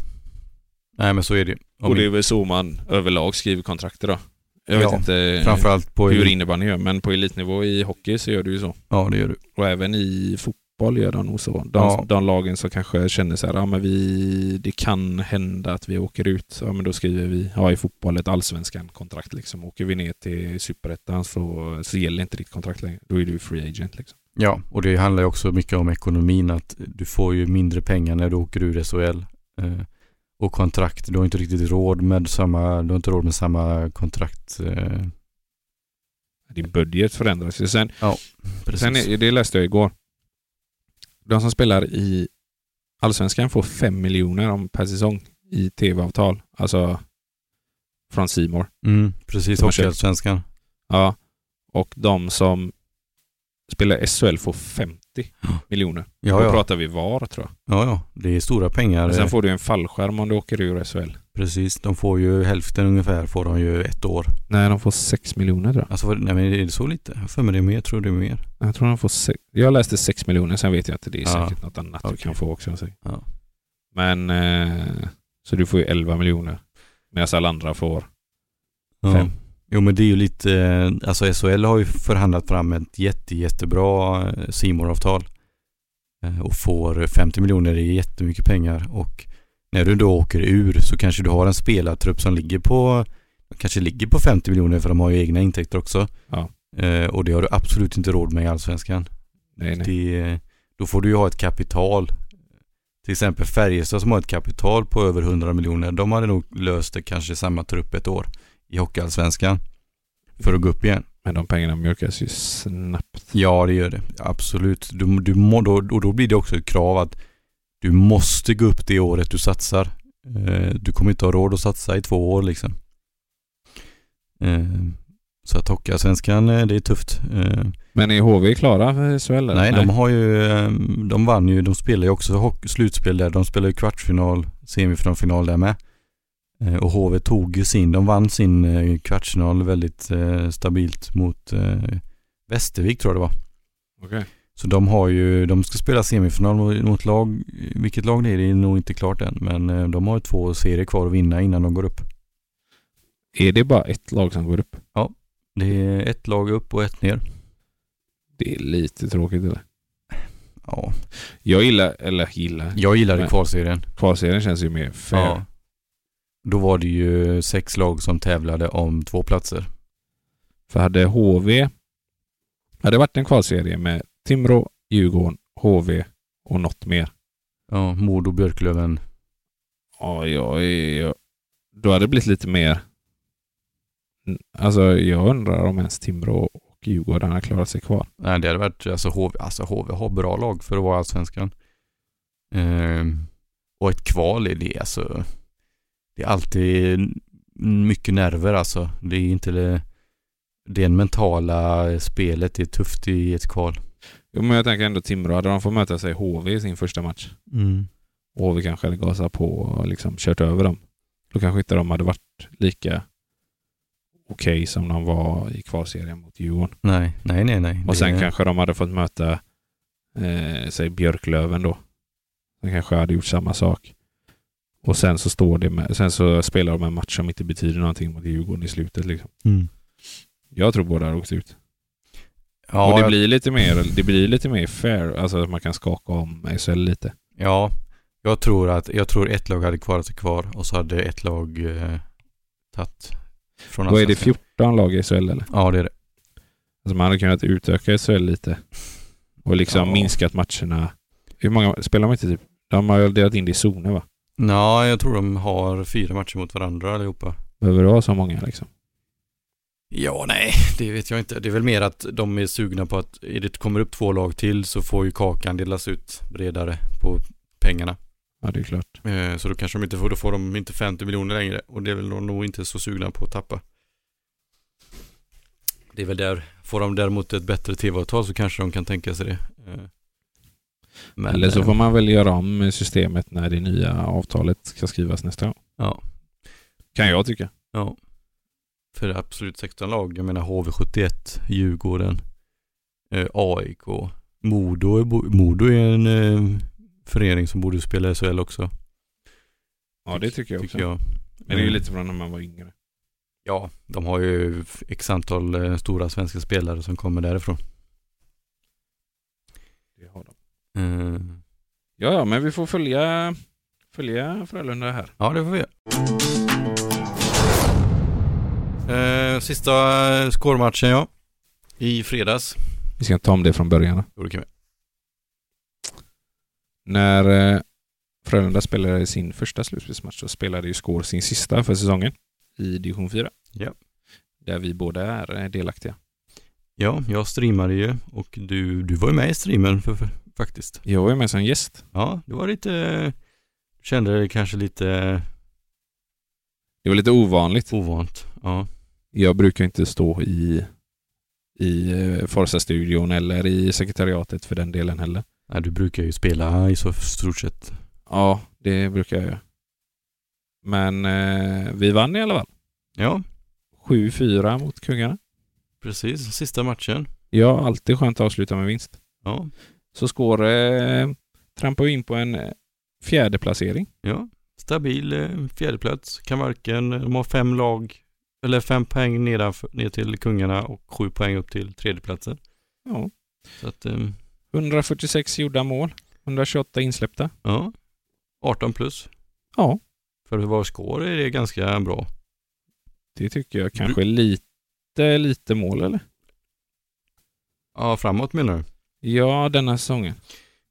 Speaker 1: Nej men så är det ju. Om
Speaker 2: och det
Speaker 1: in-
Speaker 2: är väl så man överlag skriver kontrakt idag. Jag
Speaker 1: Ja,
Speaker 2: vet inte
Speaker 1: Framförallt på...
Speaker 2: hur
Speaker 1: elit-
Speaker 2: innebandy gör, men på elitnivå i hockey så gör du ju så.
Speaker 1: Ja det gör du.
Speaker 2: Och även i fotboll gör de nog så. De,
Speaker 1: Ja.
Speaker 2: de lagen som kanske känner så här, ja men vi, det kan hända att vi åker ut. Ja men då skriver vi, ja i fotboll ett allsvenskan-kontrakt liksom. Åker vi ner till superettan så, så gäller inte ditt kontrakt längre. Då är du free agent liksom.
Speaker 1: Ja, och det handlar ju också mycket om ekonomin att du får ju mindre pengar när du åker ur SHL. Eh, och kontrakt, du har inte riktigt råd med samma, du har inte råd med samma kontrakt. Eh,
Speaker 2: Din budget förändras ju. Sen,
Speaker 1: precis.
Speaker 2: Sen, är- det läste jag igår. De som spelar i Allsvenskan får 5 miljoner om per säsong i tv-avtal. Alltså från Simor.
Speaker 1: Mm, precis,
Speaker 2: Som har köpt.
Speaker 1: Hockeyallsvenskan.
Speaker 2: Ja. Och de som spelar i SHL får 50
Speaker 1: Ja.
Speaker 2: miljoner.
Speaker 1: Ja,
Speaker 2: Då
Speaker 1: ja.
Speaker 2: pratar vi var tror jag.
Speaker 1: ja, ja. Det är stora pengar.
Speaker 2: Men sen
Speaker 1: eh,
Speaker 2: får du en fallskärm om du åker ur SHL.
Speaker 1: Precis, de får ju hälften ungefär, får de ju ett år.
Speaker 2: Nej, de får 6 miljoner tror jag.
Speaker 1: Alltså, vad- nej men är det så lite? Jag har för mig det är mer, jag tror det är mer.
Speaker 2: Jag tror de får sex. Jag läste 6 miljoner, sen vet jag att det är
Speaker 1: Ja.
Speaker 2: säkert något annat
Speaker 1: Okej.
Speaker 2: du kan få också. säkert.
Speaker 1: Ja.
Speaker 2: Men eh, så du får ju 11 miljoner. Medan alla andra får
Speaker 1: Ja.
Speaker 2: Fem.
Speaker 1: Jo men det är ju lite, eh, alltså SHL har ju förhandlat fram ett jätte, jättebra eh, simor-avtal Eh, och får 50 miljoner, det är jättemycket pengar och när du då åker ur så kanske du har en spelartrupp som ligger på, kanske ligger på 50 miljoner för de har ju egna intäkter också.
Speaker 2: Ja.
Speaker 1: Eh, Och det har du absolut inte råd med i Allsvenskan.
Speaker 2: Nej, nej.
Speaker 1: Det, då får du ju ha ett kapital. Till exempel Färjestad som har ett kapital på över 100 miljoner. De hade nog löst det kanske i samma trupp ett år i Hockeyallsvenskan. För att gå upp igen.
Speaker 2: Men de pengarna mjölkas ju snabbt.
Speaker 1: Ja, det gör det. Absolut. Du, du må, då, och då blir det också ett krav att du måste gå upp det året du satsar. Eh, Du kommer inte ha råd att satsa i två år liksom. Eh, Så att Hockeyallsvenskan, eh, det är tufft. Eh,
Speaker 2: Men är HV klara för SHL? eller?
Speaker 1: Nej, de har ju, eh, de vann ju, de spelar ju också hock- slutspel där. De spelar ju kvartsfinal, semifinal, final där med. Eh, Och HV tog ju sin, de vann sin eh, kvartsfinal väldigt eh, stabilt mot eh, Västervik tror jag det var.
Speaker 2: Okej.
Speaker 1: Så de har ju, de ska spela semifinal mot- mot lag, vilket lag det är, det är nog inte klart än. Men eh, de har ju två serier kvar att vinna innan de går upp.
Speaker 2: Är det bara ett lag som går upp?
Speaker 1: Det är ett lag upp och ett ner.
Speaker 2: Det är lite tråkigt eller?
Speaker 1: Ja,
Speaker 2: Jag gillar, eller gillar,
Speaker 1: jag gillade
Speaker 2: Men-
Speaker 1: kvalserien.
Speaker 2: kvalserien känns ju mer fair.
Speaker 1: Ja. Då var det ju sex lag som tävlade om två platser.
Speaker 2: För hade HV, hade det varit en kvalserie med Timrå, Djurgården, HV och något mer.
Speaker 1: Ja, Modo, Björklöven.
Speaker 2: Ja, jag, är- jag, då hade det blivit lite mer. Alltså jag undrar om ens Timrå och Djurgården har klarat sig kvar.
Speaker 1: Nej, det hade varit, alltså HV, alltså HV har bra lag för att vara allsvenskan. Ehm, och ett kval är det alltså. Det är alltid mycket nerver alltså. Det är inte det, det mentala spelet, det är tufft i ett kval.
Speaker 2: Jo, men jag tänker ändå Timrå, hade de fått möta sig HV i sin första match
Speaker 1: Mm.
Speaker 2: och HV kanske hade gasat på och liksom kört över dem, då kanske inte de hade varit lika okej som de var i kvalserien mot Djurgården.
Speaker 1: Nej, nej, nej, nej.
Speaker 2: Och sen
Speaker 1: Det-
Speaker 2: kanske de hade fått möta, eh, säg Björklöven då. De kanske hade gjort samma sak. Och sen så, står det med, sen så spelar de en match som inte betyder någonting mot Djurgården i slutet. Liksom.
Speaker 1: Mm.
Speaker 2: Jag tror båda hade åkt ut.
Speaker 1: Ja,
Speaker 2: och det
Speaker 1: jag-
Speaker 2: blir, lite mer, det blir lite mer fair, alltså att man kan skaka om SHL lite.
Speaker 1: Ja, jag tror att jag tror ett lag hade kvalat sig kvar och så hade ett lag eh, tagit från
Speaker 2: Vad är det,
Speaker 1: allsvenskan.
Speaker 2: 14 lag i SHL eller?
Speaker 1: Ja, det är det.
Speaker 2: Alltså man hade kunnat utöka SHL lite och liksom
Speaker 1: Ja.
Speaker 2: minskat matcherna. Hur många spelar de inte typ? De har ju delat in det i zoner va?
Speaker 1: Ja, jag tror de har fyra matcher mot varandra allihopa.
Speaker 2: Behöver du ha så många liksom?
Speaker 1: Ja, nej, det vet jag inte. Det är väl mer att de är sugna på att är det kommer upp två lag till så får ju kakan delas ut bredare på pengarna.
Speaker 2: Ja, det är klart.
Speaker 1: Eh, så då kanske de inte får, då får de inte 50 miljoner längre och det är väl de nog inte så sugna på att tappa. Det är väl där, får de däremot ett bättre tv-avtal så kanske de kan tänka sig det. Eh, men,
Speaker 2: Eller så
Speaker 1: eh,
Speaker 2: får man väl göra om systemet när det nya avtalet ska skrivas nästa gång.
Speaker 1: Ja,
Speaker 2: Kan jag tycka.
Speaker 1: ja. För absolut 16 lag, jag menar HV71, Djurgården, eh, AIK, Modo, är bo- Modo är en eh, förening som borde spela i SHL också,
Speaker 2: Ja, det tycker jag Mm. också.
Speaker 1: tycker jag. Eh,
Speaker 2: Men det är ju lite från när man var yngre.
Speaker 1: Ja, de har ju x antal eh, stora svenska spelare som kommer därifrån.
Speaker 2: Det har de.
Speaker 1: Mm.
Speaker 2: Ja, ja, men vi får följa, följa Frölunda här.
Speaker 1: Ja, det får vi göra. Eh, sista eh, scorematchen ja. I fredags.
Speaker 2: Vi ska ta om det från början.
Speaker 1: Jo, det kan vi.
Speaker 2: När eh, Frölunda spelade sin första slutspelsmatch så spelade ju Skår sin sista för säsongen i division 4.
Speaker 1: Ja.
Speaker 2: Där vi båda är eh, delaktiga.
Speaker 1: Ja, jag streamade ju och du, du var ju med i streamen för, för, faktiskt.
Speaker 2: Jag var ju med som gäst.
Speaker 1: Ja, det var lite... eh, Kände det kanske lite
Speaker 2: Det var lite ovanligt.
Speaker 1: ovant. Ja.
Speaker 2: Jag brukar inte stå i, i eh, Forza-studion eller i sekretariatet för den delen heller.
Speaker 1: Nej, du brukar ju spela i så stort sett.
Speaker 2: Ja, det brukar jag göra. Men eh, vi vann i alla fall.
Speaker 1: Ja,
Speaker 2: 7-4 mot Kungarna.
Speaker 1: precis. Sista matchen.
Speaker 2: Ja, alltid skönt att avsluta med vinst.
Speaker 1: Ja,
Speaker 2: Så skår eh, trampar vi in på en eh, fjärde placering.
Speaker 1: ja. Stabil eh, fjärdeplats. Kan varken... De har fem lag, eller fem poäng nedanför, ner till kungarna och sju poäng upp till tredjeplatsen.
Speaker 2: Ja.
Speaker 1: Så att, eh,
Speaker 2: 146 gjorda mål, 128 insläppta.
Speaker 1: ja. 18 plus.
Speaker 2: Ja,
Speaker 1: För att vara score är det ganska bra.
Speaker 2: det tycker jag kanske är lite, lite mål eller?
Speaker 1: Ja, framåt menar du?
Speaker 2: Ja, denna säsongen.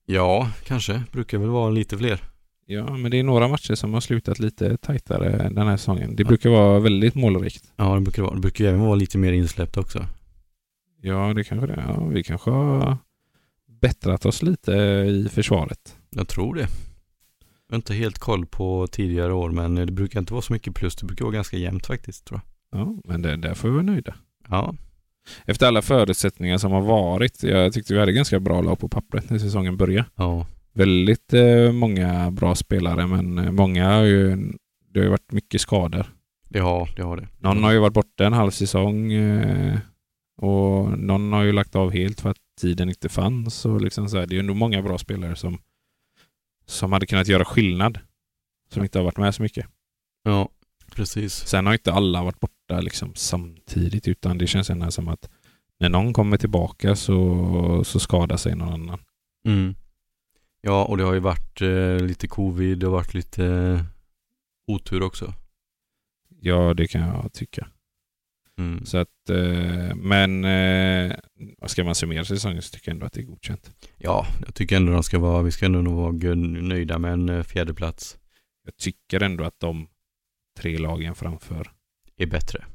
Speaker 1: Ja, kanske. Brukar väl vara lite fler.
Speaker 2: Ja, men det är några matcher som har slutat lite tajtare den här säsongen. Det brukar vara väldigt målrikt.
Speaker 1: Ja, det brukar vara. Det brukar ju även vara lite mer insläppt också.
Speaker 2: Ja, det kanske det är. Ja, vi kanske har bättrat oss lite i försvaret.
Speaker 1: Jag tror det. Jag har inte helt koll på tidigare år, men det brukar inte vara så mycket plus. Det brukar vara ganska jämnt faktiskt, tror jag.
Speaker 2: Ja, men det, där får vi vara nöjda.
Speaker 1: Ja,
Speaker 2: Efter alla förutsättningar som har varit. Jag tyckte vi hade ganska bra lag på pappret när säsongen började.
Speaker 1: ja,
Speaker 2: Väldigt eh, många bra spelare, men eh, många har ju... Det har ju varit mycket skador.
Speaker 1: det har det. Har det.
Speaker 2: Någon har ju varit borta en halv säsong eh, och någon har ju lagt av helt för att tiden inte fanns. Och liksom så här, det är ju ändå många bra spelare som, som hade kunnat göra skillnad. Som inte har varit med så mycket.
Speaker 1: Ja, precis.
Speaker 2: Sen har inte alla varit borta liksom samtidigt utan det känns ändå som att när någon kommer tillbaka så, så skadar sig någon annan.
Speaker 1: Mm. Ja, och det har ju varit eh, lite covid, det har varit lite eh, otur också.
Speaker 2: Ja, det kan jag tycka.
Speaker 1: Mm.
Speaker 2: Så att, eh, men eh, ska man summera säsongen så tycker jag ändå att det är godkänt.
Speaker 1: Ja, jag tycker ändå de ska vara, vi ska ändå nog vara gö- nöjda med en eh, fjärdeplats.
Speaker 2: Jag tycker ändå att de tre lagen framför
Speaker 1: Är bättre.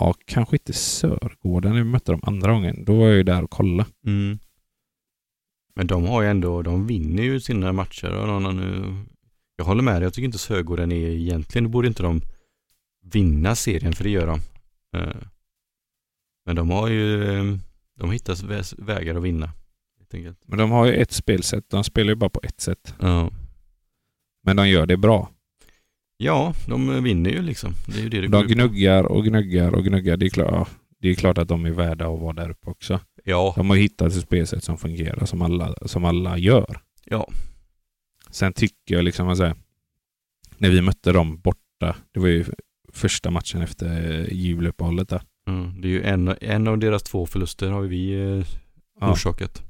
Speaker 2: Ja, kanske inte Sörgården. Vi mötte dem andra gången. Då var jag ju där och kollade.
Speaker 1: Mm. Men de har ju ändå, de vinner ju sina matcher och någon nu. Jag håller med dig, jag tycker inte Sögården är egentligen, borde inte de vinna serien för det gör de. Eh, Men de har ju, eh, de hittar väs- vägar att vinna. helt enkelt.
Speaker 2: Men de har ju ett spelsätt. De spelar ju bara på ett sätt.
Speaker 1: Ja.
Speaker 2: Men de gör det bra.
Speaker 1: ja, de vinner ju liksom. Det är ju det det går
Speaker 2: De
Speaker 1: ut på.
Speaker 2: gnuggar och gnuggar och gnuggar. Det är, klart, ja, det är klart att de är värda att vara där uppe också.
Speaker 1: Ja,
Speaker 2: De har hittat ett spelsätt som fungerar, som alla, som alla gör.
Speaker 1: Ja.
Speaker 2: Sen tycker jag liksom, att säga, när vi mötte dem borta, det var ju första matchen efter eh, juluppehållet där.
Speaker 1: mm. det är ju en, en av deras två förluster har ju vi eh,
Speaker 2: Ja,
Speaker 1: orsakat.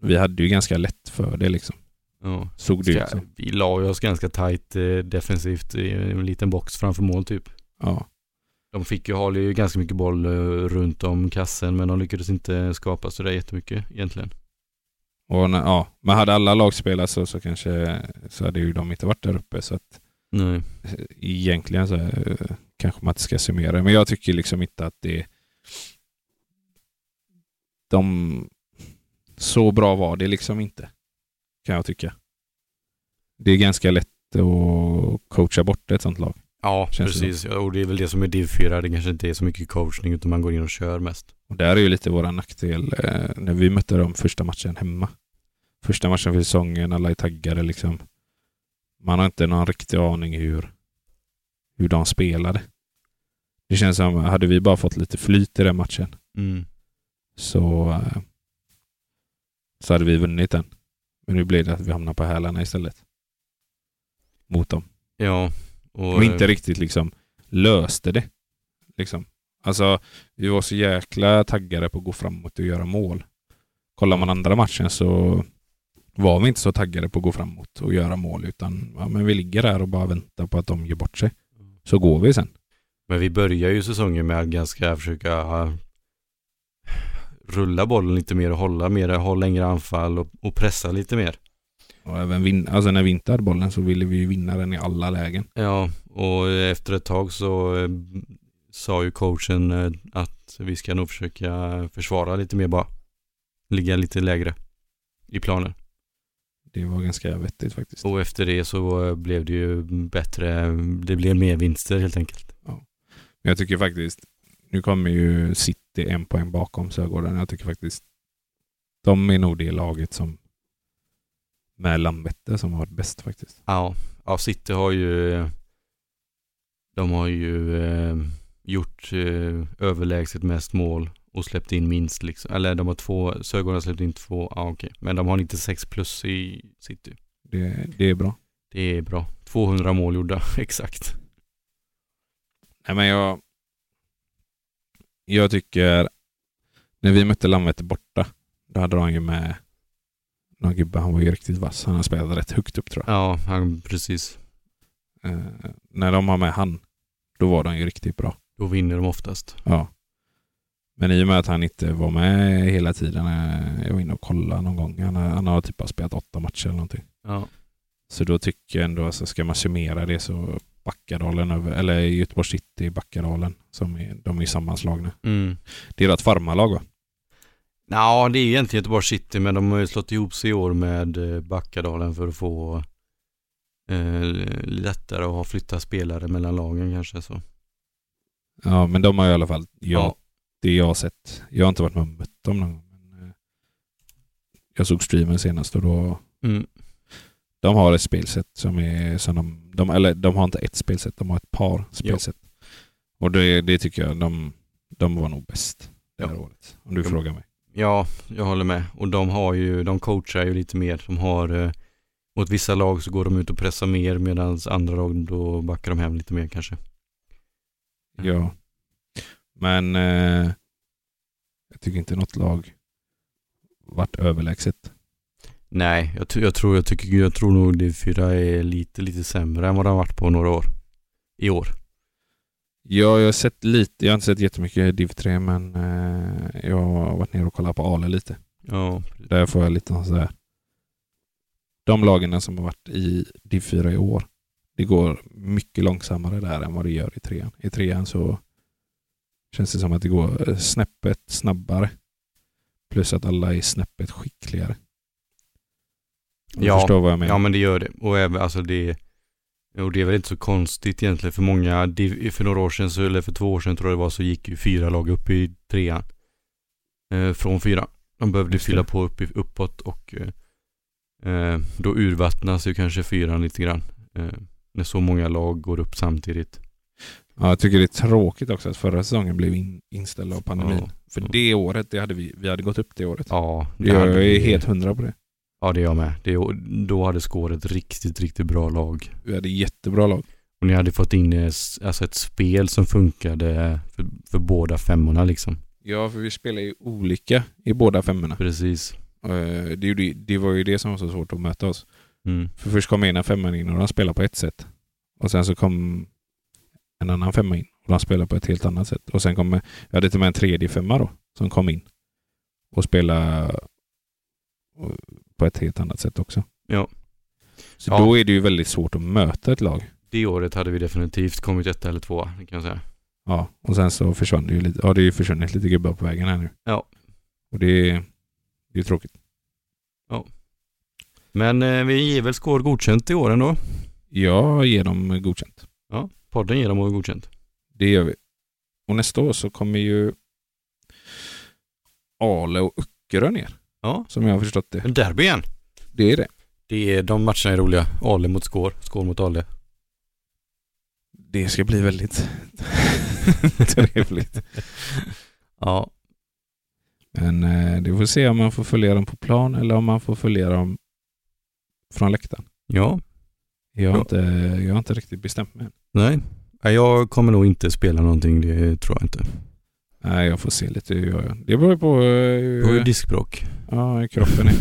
Speaker 2: vi hade ju ganska lätt för det liksom.
Speaker 1: Ja.
Speaker 2: Såg det liksom- ut
Speaker 1: Ska,
Speaker 2: som.
Speaker 1: vi la ju oss ganska tajt eh, defensivt i en liten box framför mål typ.
Speaker 2: Ja.
Speaker 1: De fick ju, håller ju ganska mycket boll eh, runt om kassen men de lyckades inte skapa sådär jättemycket egentligen.
Speaker 2: Och, när- ja. Men hade alla lag spelat så, så kanske så hade ju de inte varit där uppe. Så att eh,
Speaker 1: Nej.
Speaker 2: egentligen så eh, kanske man inte ska summera det, men jag tycker liksom inte att det de så bra var det liksom inte kan jag tycka. Det är ganska lätt att coacha bort ett sånt lag.
Speaker 1: Ja,
Speaker 2: Känns det
Speaker 1: precis. Ja, Och det är väl det som är div 4. Det kanske inte är så mycket coachning utan man går in och kör mest.
Speaker 2: Och där är ju lite våran nackdel eh, när vi mötte dem första matchen hemma. Första matchen för säsongen, alla är taggade liksom. Man har inte någon riktig aning hur, hur de spelade. Det känns som, hade vi bara fått lite flyt i den matchen
Speaker 1: Mm.
Speaker 2: så, eh, så hade vi vunnit den. Men nu blev det att vi hamnade på hälarna istället. Mot dem.
Speaker 1: Ja. Och,
Speaker 2: Och inte
Speaker 1: eh,
Speaker 2: riktigt liksom löste det. Liksom. Alltså, vi var så jäkla taggade på att gå framåt och göra mål. Kollar man andra matchen så var vi inte så taggade på att gå framåt och göra mål utan ja, men vi ligger där och bara väntar på att de gör bort sig. Så går vi sen.
Speaker 1: Men vi börjar ju säsongen med att ganska försöka eh, rulla bollen lite mer och hålla mer, ha längre anfall och, och pressa lite mer.
Speaker 2: Och även vin- alltså när vi inte hade bollen så ville vi ju vinna den i alla lägen.
Speaker 1: Ja, och efter ett tag så eh, sa ju coachen eh, att vi ska nog försöka försvara lite mer bara. Ligga lite lägre i planen.
Speaker 2: Det var ganska vettigt faktiskt.
Speaker 1: Och efter det så eh, blev det ju bättre, det blev mer vinster helt enkelt.
Speaker 2: Men jag tycker faktiskt, nu kommer ju City en poäng bakom Sörgården. Jag tycker faktiskt de är nog det laget som med Landvetter som har varit bäst faktiskt.
Speaker 1: Ja, ja City har ju, eh, de har ju eh, gjort eh, överlägset mest mål och släppt in minst liksom. Eller de har två, Sörgården har släppt in två, ja okej. Men de har 96 plus i City.
Speaker 2: Det, det är bra.
Speaker 1: Det är bra. 200 mål gjorda, exakt.
Speaker 2: Nej men jag, jag tycker när vi mötte Landvetter borta, då hade de ju med någon gubbe, han var ju riktigt vass. Han har spelat rätt högt upp tror jag.
Speaker 1: Ja, han, precis.
Speaker 2: Eh, när de har med han, då var de ju riktigt bra.
Speaker 1: Då vinner de oftast.
Speaker 2: Ja. Men i och med att han inte var med hela tiden, eh, jag var inne och kollade någon gång, han, har- han har typ bara spelat åtta matcher eller någonting.
Speaker 1: Ja.
Speaker 2: Så då tycker jag ändå, alltså, ska man summera det så Backadalen, över, eller Göteborg City, Backadalen, som är, de är ju sammanslagna.
Speaker 1: Mm.
Speaker 2: Det är rätt farmarlag va?
Speaker 1: Ja, det är egentligen Göteborg City, men de har ju slått ihop sig i år med eh, Backadalen för att få eh, lättare att ha flytta spelare mellan lagen kanske så.
Speaker 2: Ja, men de har i alla fall, jag, det jag har sett, jag har inte varit med och mött dem någon gång. Men, eh, jag såg streamen senast och då
Speaker 1: Mm.
Speaker 2: De har ett spelsätt som är som de, de, eller de har inte ett spelsätt, de har ett par spelsätt. Och det, det tycker jag, de, de var nog bäst det här
Speaker 1: Ja.
Speaker 2: året. Om du
Speaker 1: Ja.
Speaker 2: frågar mig.
Speaker 1: Ja, jag håller med. Och de har ju, de coachar ju lite mer. De har, eh, åt vissa lag så går de ut och pressar mer medan andra lag då backar de hem lite mer kanske. Mm.
Speaker 2: Ja. Men eh, jag tycker inte något lag vart överlägset.
Speaker 1: Nej, jag, t- jag, tror, jag, tycker, jag tror nog div 4 är lite, lite sämre än vad den har varit på några år. I år.
Speaker 2: Ja, jag har sett lite, jag har inte sett jättemycket i Div 3 men eh, jag har varit nere och kollat på Ale lite.
Speaker 1: Ja,
Speaker 2: Där får jag lite så här. De lagen som har varit i div 4 i år, det går mycket långsammare där än vad det gör i trean. I trean så känns det som att det går eh, snäppet snabbare. Plus att alla är snäppet skickligare. Om Du
Speaker 1: Ja.
Speaker 2: förstår vad jag menar.
Speaker 1: ja men det gör det. Och även, alltså det, och det är väl inte så konstigt egentligen för många. Div, för några år sedan, så, eller för två år sedan tror jag det var, så gick ju fyra lag upp i trean. Eh, från fyra. De behövde
Speaker 2: Just det.
Speaker 1: fylla på upp, uppåt och eh, eh, då urvattnas ju kanske fyran lite grann. Eh, när så många lag går upp samtidigt.
Speaker 2: Ja, jag tycker det är tråkigt också att förra säsongen blev in, inställd av pandemin.
Speaker 1: Ja.
Speaker 2: För
Speaker 1: Mm.
Speaker 2: det året, det hade vi, vi hade gått upp det året.
Speaker 1: Ja, det
Speaker 2: jag
Speaker 1: hade
Speaker 2: är
Speaker 1: vi-
Speaker 2: helt hundra på det.
Speaker 1: Ja, det är jag med. Det, då hade Skåre ett riktigt, riktigt bra lag.
Speaker 2: Vi hade jättebra lag.
Speaker 1: Och ni hade fått in eh, s- alltså ett spel som funkade för, för båda femmorna liksom.
Speaker 2: Ja, för vi spelar ju olika i båda femmorna.
Speaker 1: Precis.
Speaker 2: Eh, Det, gjorde ju- det var ju det som var så svårt att möta oss.
Speaker 1: Mm.
Speaker 2: För först kom ena femman in och de spelade på ett sätt. Och sen så kom en annan femma in och de spelade på ett helt annat sätt. Och sen kom, jag hade till och med en tredje femma då, som kom in och spelade eh, på ett helt annat sätt också.
Speaker 1: Ja.
Speaker 2: Så
Speaker 1: Ja.
Speaker 2: då är det ju väldigt svårt att möta ett lag.
Speaker 1: Det året hade vi definitivt kommit etta eller tvåa, det kan jag säga.
Speaker 2: Ja, och sen så försvann det ju lite. Ja, det är ju försvunnit lite gubbar på vägen här nu.
Speaker 1: Ja.
Speaker 2: Och det är det är tråkigt.
Speaker 1: Men eh, vi ger väl Skåre godkänt i år ändå.
Speaker 2: Jag ger dem godkänt.
Speaker 1: Podden ger dem godkänt.
Speaker 2: Det gör vi. Och nästa år så kommer ju Ale och Öckerö ner.
Speaker 1: Ja.
Speaker 2: Som jag har förstått det.
Speaker 1: En derby igen.
Speaker 2: Det är det.
Speaker 1: Det är, de matcherna är roliga. Ale mot Skår, Skår mot Ale.
Speaker 2: Det ska bli väldigt trevligt.
Speaker 1: Ja,
Speaker 2: Men eh, det får se om man får följa dem på plan eller om man får följa dem från läktaren.
Speaker 1: ja,
Speaker 2: Jag har,
Speaker 1: Ja.
Speaker 2: inte, jag har inte riktigt bestämt mig än.
Speaker 1: nej. Nej, Jag kommer nog inte spela någonting, det tror jag inte.
Speaker 2: Nej, jag får se lite hur jag gör. Det beror ju på eh,
Speaker 1: Det var ju
Speaker 2: hur
Speaker 1: diskbråck.
Speaker 2: ja, hur kroppen är.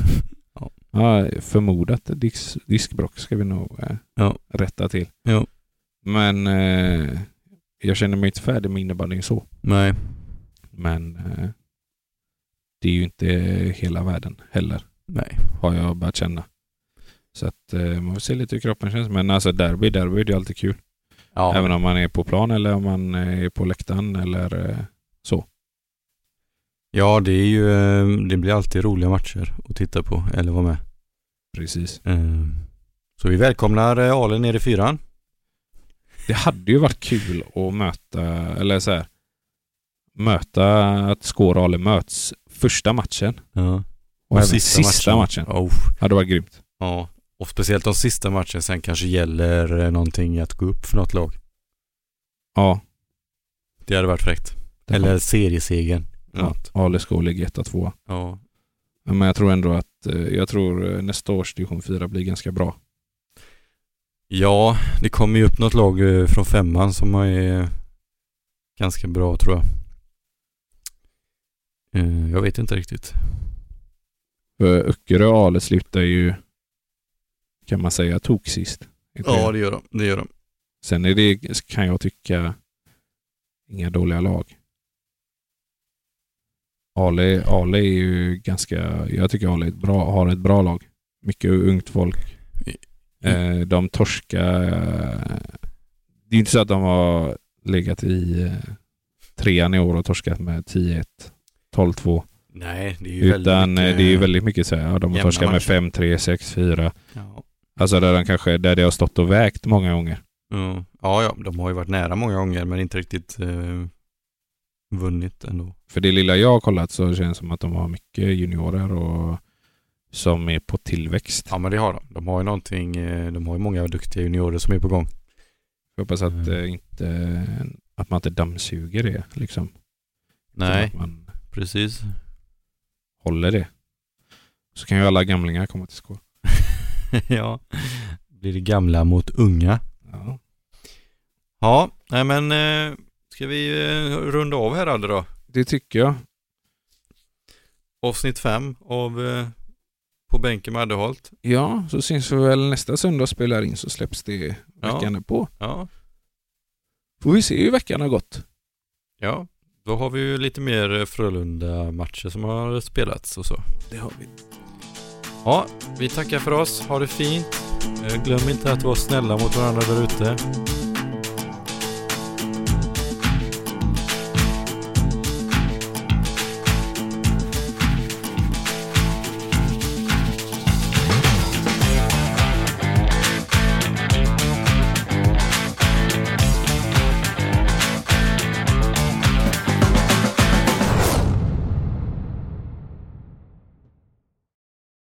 Speaker 1: Ja.
Speaker 2: Ja, förmodat disk, diskbråck ska vi nog eh,
Speaker 1: Ja.
Speaker 2: rätta till.
Speaker 1: Ja.
Speaker 2: Men eh, jag känner mig inte färdig med innebandyn så.
Speaker 1: Nej,
Speaker 2: Men eh, det är ju inte hela världen heller,
Speaker 1: nej.
Speaker 2: har jag börjat känna. Så att eh, man får se lite hur kroppen känns. Men alltså derby, derby det är alltid kul.
Speaker 1: Ja,
Speaker 2: Även om man är på plan eller om man är på läktaren eller eh,
Speaker 1: ja det, är ju, eh, det blir alltid roliga matcher att titta på eller vara med.
Speaker 2: precis.
Speaker 1: Eh, Så vi välkomnar eh, Ale ner i fyran.
Speaker 2: Det hade ju varit kul att möta, eller så här, möta att Skåre och Ale möts första matchen
Speaker 1: Ja.
Speaker 2: och, även sista, matchen.
Speaker 1: Oh.
Speaker 2: Hade varit grymt.
Speaker 1: Ja, och speciellt de sista matcherna sen kanske gäller eh, någonting att gå upp för något lag.
Speaker 2: Ja.
Speaker 1: Det hade varit fräckt. Eller seriesegern.
Speaker 2: Ja. Ale Skåre ligger etta, tvåa.
Speaker 1: Ja.
Speaker 2: Ja, Men jag tror ändå att, eh, jag tror eh, nästa års division 4 blir ganska bra.
Speaker 1: ja, det kommer ju upp något lag eh, från femman som är eh, ganska bra tror jag. Eh, Jag vet inte riktigt.
Speaker 2: För Öckerö och Ale slutar ju, kan man säga, tok sist.
Speaker 1: det gör de. Det gör de.
Speaker 2: Sen är det, kan jag tycka, inga dåliga lag. Ale, Ale är ju ganska, jag tycker Ale är ett bra, har ett bra lag. Mycket ungt folk. Eh, de torska Det är ju inte så att de har legat i eh, trean i år och torskat med 10-1, 12-2.
Speaker 1: Nej, det är ju
Speaker 2: Utan eh,
Speaker 1: väldigt...
Speaker 2: det är ju väldigt mycket så här, ja, de har
Speaker 1: jämna
Speaker 2: torskat med
Speaker 1: matcher.
Speaker 2: 5-3, 6-4.
Speaker 1: Ja.
Speaker 2: Alltså där de kanske, där det har stått och vägt många gånger.
Speaker 1: Ja. ja, ja, de har ju varit nära många gånger men inte riktigt eh, vunnit ändå.
Speaker 2: För det lilla jag har kollat så känns det som att de har mycket juniorer och som är på tillväxt.
Speaker 1: Ja men det har de. De har ju någonting, eh, de har ju många duktiga juniorer som är på gång.
Speaker 2: Jag hoppas att,
Speaker 1: Mm.
Speaker 2: eh, inte, att man inte dammsuger det liksom. Utan Att man
Speaker 1: precis.
Speaker 2: håller det. Så kan ju alla gamlingar komma till skål.
Speaker 1: ja. Blir det gamla mot unga.
Speaker 2: Ja.
Speaker 1: Ja, nej men eh, ska vi eh, runda av här Adde då?
Speaker 2: Det tycker jag.
Speaker 1: Avsnitt fem av eh, På bänken med Adde Holt.
Speaker 2: Ja, så syns vi väl nästa söndag och spelar in så släpps det
Speaker 1: Ja.
Speaker 2: veckan ja. på.
Speaker 1: Ja.
Speaker 2: Får vi se hur veckan har gått.
Speaker 1: ja, då har vi ju lite mer eh, Frölunda-matcher som har spelats och så.
Speaker 2: Det har vi.
Speaker 1: Ja, vi tackar för oss. Ha det fint. Eh, Glöm inte att vara snälla mot varandra där ute.